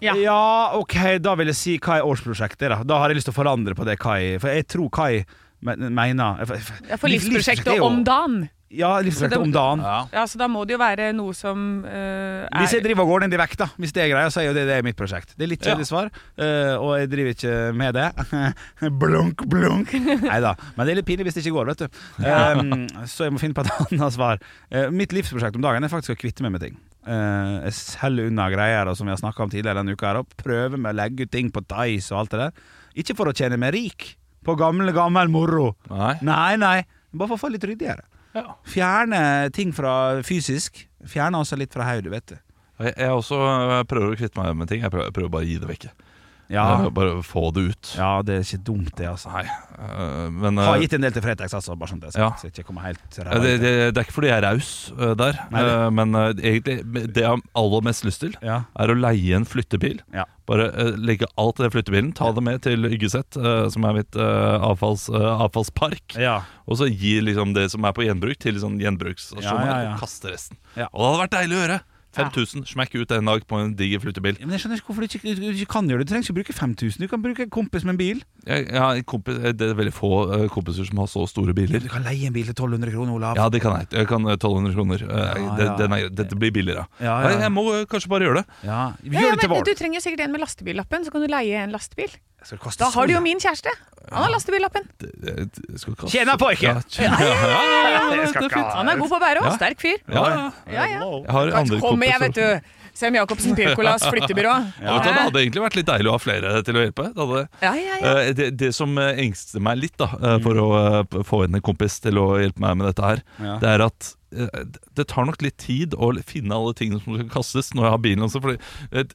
[SPEAKER 4] Ja.
[SPEAKER 2] Ja. ok, da vil jeg si hva er årsprosjektet da Da har jeg lyst til å forandre på det Kai For jeg tror Kai men- mener
[SPEAKER 4] Ja, For livsprosjektet
[SPEAKER 2] er jo-
[SPEAKER 4] om dagen.
[SPEAKER 2] Ja, livsprosjektet om dagen
[SPEAKER 4] Ja, så da må det jo være noe som eh,
[SPEAKER 2] Hvis jeg
[SPEAKER 4] er
[SPEAKER 2] driver og går ned i vekt da Hvis det er greia, så er jo det, det er mitt prosjekt Det er litt kjedelig svar eh, Og jeg driver ikke med det Blunk, blunk Neida, men det er litt pinlig hvis det ikke går, vet du Ehm, Så jeg må finne på et annet svar Eh, Mitt livsprosjekt om dagen er faktisk å kvitte meg med ting Eh, Jeg selger unna greier og som vi har snakket om tidligere denne uka her Og prøver med å legge ut ting på Dice og alt det der Ikke for å tjene meg rik På gammel, gammel moro
[SPEAKER 3] Nei.
[SPEAKER 2] Nei, nei, bare for å få litt ryddigere
[SPEAKER 3] Ja.
[SPEAKER 2] Fjerne ting fra fysisk Fjerne også litt fra høyde, vet du
[SPEAKER 3] Jeg, jeg også eh, prøver å kvitte meg med ting. Jeg prøver, jeg prøver bare å gi det vekk. Jeg
[SPEAKER 2] Ja,
[SPEAKER 3] prøver Bare å få det ut.
[SPEAKER 2] ja det er ikke dumt det, altså.
[SPEAKER 3] Nei, eh, men eh,
[SPEAKER 2] Har gitt en del til Fretex, altså, bare sånn det er sagt.
[SPEAKER 3] Ja.
[SPEAKER 2] Så jeg ikke kommer helt
[SPEAKER 3] Ja, Det, det, det er ikke fordi jeg er raus eh, der,
[SPEAKER 2] Nei, det-
[SPEAKER 3] eh, men eh, egentlig det jeg har aller mest lyst til,
[SPEAKER 2] Ja.
[SPEAKER 3] er å leie en flyttebil.
[SPEAKER 2] Ja.
[SPEAKER 3] Bare eh, legge alt i den flyttebilen, ta det med til Yggeset, eh, som er mitt eh, avfalls, eh, avfallspark,
[SPEAKER 2] Ja.
[SPEAKER 3] og så gi liksom det som er på gjenbruk, til sånn gjenbruksstasjoner,
[SPEAKER 2] Ja, ja, ja.
[SPEAKER 3] og kaste resten.
[SPEAKER 2] Ja.
[SPEAKER 3] Og det hadde vært deilig å gjøre! 5000, smekk ut en dag på en diger flyttebil.
[SPEAKER 2] Men jeg skjønner ikke hvorfor du ikke, du, du ikke kan gjøre det. Du trenger ikke bruke 5000. Du kan bruke en kompis med en bil.
[SPEAKER 3] Jeg, jeg har en kompis, det er veldig få eh, kompiser som har så store
[SPEAKER 2] Du
[SPEAKER 3] biler.
[SPEAKER 2] kan leie en bil til 1200 kroner, Olav.
[SPEAKER 3] Ja, det kan jeg. Jeg kan eh, 1200 kroner. Eh,
[SPEAKER 2] Ja,
[SPEAKER 3] det,
[SPEAKER 2] ja.
[SPEAKER 3] Den er, dette blir billigere.
[SPEAKER 2] Ja, ja, ja.
[SPEAKER 3] Nei, Jeg må eh, kanskje bare gjøre det.
[SPEAKER 2] Ja, Vi
[SPEAKER 4] ja,
[SPEAKER 2] gjør
[SPEAKER 4] ja,
[SPEAKER 2] det til
[SPEAKER 4] men
[SPEAKER 2] vår.
[SPEAKER 4] Du trenger sikkert en med lastebillappen, så kan du leie en lastebil.
[SPEAKER 2] Det skal koste
[SPEAKER 4] Da
[SPEAKER 2] så
[SPEAKER 4] har du jo
[SPEAKER 3] Sånn,
[SPEAKER 2] jævlig.
[SPEAKER 4] min kjæreste. Han har lastebillappen.
[SPEAKER 3] Jeg skal ikke ha-
[SPEAKER 2] Tjena på, ikke?
[SPEAKER 3] Ja, tjena. Ja, ja, ja, ja, det er fint.
[SPEAKER 4] Han er god på å bære òg.
[SPEAKER 3] Ja.
[SPEAKER 4] Sterk fyr.
[SPEAKER 3] Ja, ja.
[SPEAKER 4] Ja, ja.
[SPEAKER 3] Jeg har andre
[SPEAKER 4] Kommer jeg,
[SPEAKER 3] kompiser.
[SPEAKER 4] vet du. Sem Jacobsen Pirkolas flyttebyrå.
[SPEAKER 3] Ja, vet du, det hadde egentlig vært litt deilig å ha flere til å hjelpe. Det, hadde,
[SPEAKER 4] Ja, ja, ja.
[SPEAKER 3] Eh, det, det som eh, engster meg litt da, eh, for å eh, få inn en kompis til å hjelpe meg med dette her,
[SPEAKER 2] Ja.
[SPEAKER 3] det er at eh, det tar nok litt tid å finne alle tingene som skal kastes når jeg har bilen også. Fordi, eh,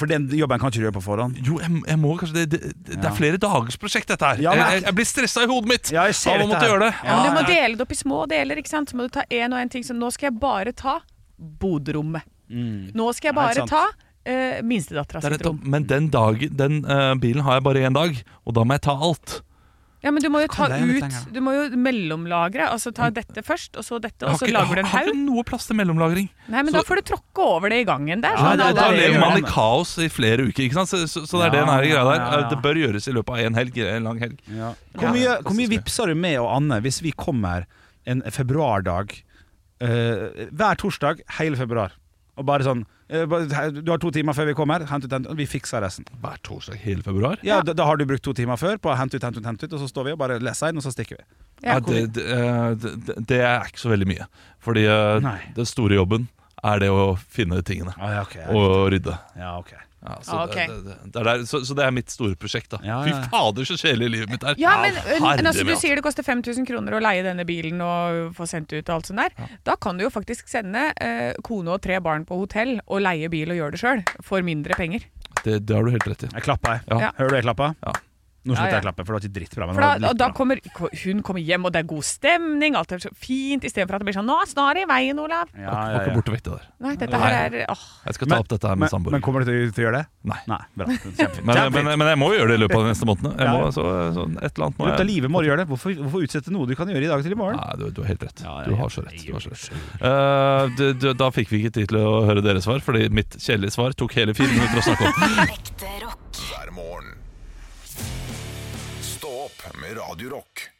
[SPEAKER 2] For den jobben kan ikke du gjøre på forhånd.
[SPEAKER 3] jo, jeg, jeg må kanskje det, det, det
[SPEAKER 2] Ja.
[SPEAKER 3] er flere dagers prosjekt, dette her.
[SPEAKER 2] Ja, men-
[SPEAKER 3] jeg, jeg- jeg blir stressa i hodet mitt
[SPEAKER 2] Ja, jeg ser
[SPEAKER 3] av å
[SPEAKER 2] dette
[SPEAKER 3] måtte
[SPEAKER 2] her.
[SPEAKER 3] gjøre det.
[SPEAKER 4] Ja, men du må dele det opp i små deler. ikke sant? Så må du ta én og én ting. Så nå skal jeg bare ta boderommet.
[SPEAKER 3] Mm.
[SPEAKER 4] Nå skal jeg
[SPEAKER 2] Nei,
[SPEAKER 4] bare
[SPEAKER 2] sant.
[SPEAKER 4] ta uh, minstedattera
[SPEAKER 3] Det er
[SPEAKER 4] sitt
[SPEAKER 3] nettopp-
[SPEAKER 4] rom.
[SPEAKER 3] men den, dagen- den eh, bilen har jeg bare én dag, og da må jeg ta alt.
[SPEAKER 4] Ja, men du må jo ta
[SPEAKER 2] kan det litt lenger,
[SPEAKER 4] ut Du må jo mellomlagre. Altså ta dette først, og så dette, og så
[SPEAKER 3] Jeg
[SPEAKER 4] lager du en
[SPEAKER 3] har
[SPEAKER 4] haug.
[SPEAKER 3] ikke noe plass til mellomlagring.
[SPEAKER 4] Nei, men
[SPEAKER 3] Så-
[SPEAKER 4] da får du tråkke over det i gangen der.
[SPEAKER 2] Ja,
[SPEAKER 4] sånn
[SPEAKER 2] det-
[SPEAKER 4] at
[SPEAKER 2] det-
[SPEAKER 3] Da
[SPEAKER 4] alle-
[SPEAKER 2] det- det-
[SPEAKER 3] lever man i
[SPEAKER 2] det-
[SPEAKER 3] kaos i flere uker, ikke sant? Så, så, så det er
[SPEAKER 2] Ja,
[SPEAKER 3] det den her greia der.
[SPEAKER 2] ja, ja.
[SPEAKER 3] Det bør gjøres i løpet av en helg, en lang helg.
[SPEAKER 2] Hvor,
[SPEAKER 3] Ja,
[SPEAKER 2] mye,
[SPEAKER 3] det
[SPEAKER 2] hvor mye
[SPEAKER 3] synes jeg.
[SPEAKER 2] vipser du med og Anne hvis vi kommer en februardag eh, hver torsdag hele februar. Og bare sånn eh, bare, Du har to timer før vi kommer, hent ut, hent ut, vi fikser resten.
[SPEAKER 3] Hver torsdag hele februar?
[SPEAKER 2] Ja, Da, da har du brukt to timer før på å hente ut, hente ut, hente ut, og så står vi og bare leser inn, og så stikker vi.
[SPEAKER 3] Ja, det, det, eh, det, det er ikke så veldig mye. Fordi eh,
[SPEAKER 2] Nei.
[SPEAKER 3] den store jobben er det å finne tingene
[SPEAKER 2] Ah, ja, ok, ja,
[SPEAKER 3] og rydde.
[SPEAKER 2] ja, ok.
[SPEAKER 3] Ja, så,
[SPEAKER 4] Ah,
[SPEAKER 3] det-
[SPEAKER 4] ok.
[SPEAKER 3] det, det, det er der, så, så det er mitt store prosjekt, da.
[SPEAKER 2] Ja, ja.
[SPEAKER 3] Fy fader, så kjedelig livet mitt er.
[SPEAKER 4] Ja, men
[SPEAKER 3] Herre
[SPEAKER 4] men
[SPEAKER 3] min,
[SPEAKER 4] altså, Du
[SPEAKER 3] altså.
[SPEAKER 4] sier det koster 5000 kroner å leie denne bilen og få sendt ut og alt sånt der. Da kan du jo faktisk sende eh, kone og tre barn på hotell og leie bil og gjøre det sjøl. For mindre penger.
[SPEAKER 3] det, det har du helt rett i.
[SPEAKER 2] Jeg klappa, jeg.
[SPEAKER 3] Ja.
[SPEAKER 4] Ja.
[SPEAKER 2] Hører du jeg klappa?
[SPEAKER 3] Ja.
[SPEAKER 2] Nå slutter
[SPEAKER 4] Ja, ja.
[SPEAKER 2] jeg å klappe, for det var ikke drittbra. Men
[SPEAKER 4] For
[SPEAKER 2] det var
[SPEAKER 4] da,
[SPEAKER 2] litt
[SPEAKER 4] og da
[SPEAKER 2] bra.
[SPEAKER 4] kommer ko- hun kommer hjem, og det er god stemning, alt er så fint, istedenfor at det blir sånn 'Nå er snar i veien, Olav'.
[SPEAKER 2] ja,
[SPEAKER 3] Var
[SPEAKER 2] ja,
[SPEAKER 3] ikke
[SPEAKER 2] ja.
[SPEAKER 3] borte vekk det der.
[SPEAKER 4] Nei, dette her er åh.
[SPEAKER 3] Jeg skal ta opp dette her med
[SPEAKER 2] men, men
[SPEAKER 3] samboer.
[SPEAKER 2] kommer du til, til å gjøre det?
[SPEAKER 3] Nei.
[SPEAKER 2] Nei, bra. Kjempefint.
[SPEAKER 3] Men,
[SPEAKER 2] Kjempefint.
[SPEAKER 3] men, men jeg må jo gjøre det i løpet av de neste månedene. Jeg
[SPEAKER 2] Ja,
[SPEAKER 3] må,
[SPEAKER 2] ja.
[SPEAKER 3] så, så et eller annet
[SPEAKER 2] I
[SPEAKER 3] må
[SPEAKER 2] løpet av
[SPEAKER 3] jeg
[SPEAKER 2] livet må du gjøre det. Hvorfor, hvorfor utsette noe du kan gjøre i dag til i morgen?
[SPEAKER 3] Nei, du, du har helt rett.
[SPEAKER 2] Ja, ja,
[SPEAKER 3] Du
[SPEAKER 2] ja.
[SPEAKER 3] har så rett. Du har så rett. Eh, du, du, da fikk vi ikke tid til å høre deres svar, fordi mitt kjedelige svar tok hele fire minutter å snakke om.
[SPEAKER 5] Ekte rock.
[SPEAKER 1] hver morgen. Stå opp med Radio Rock.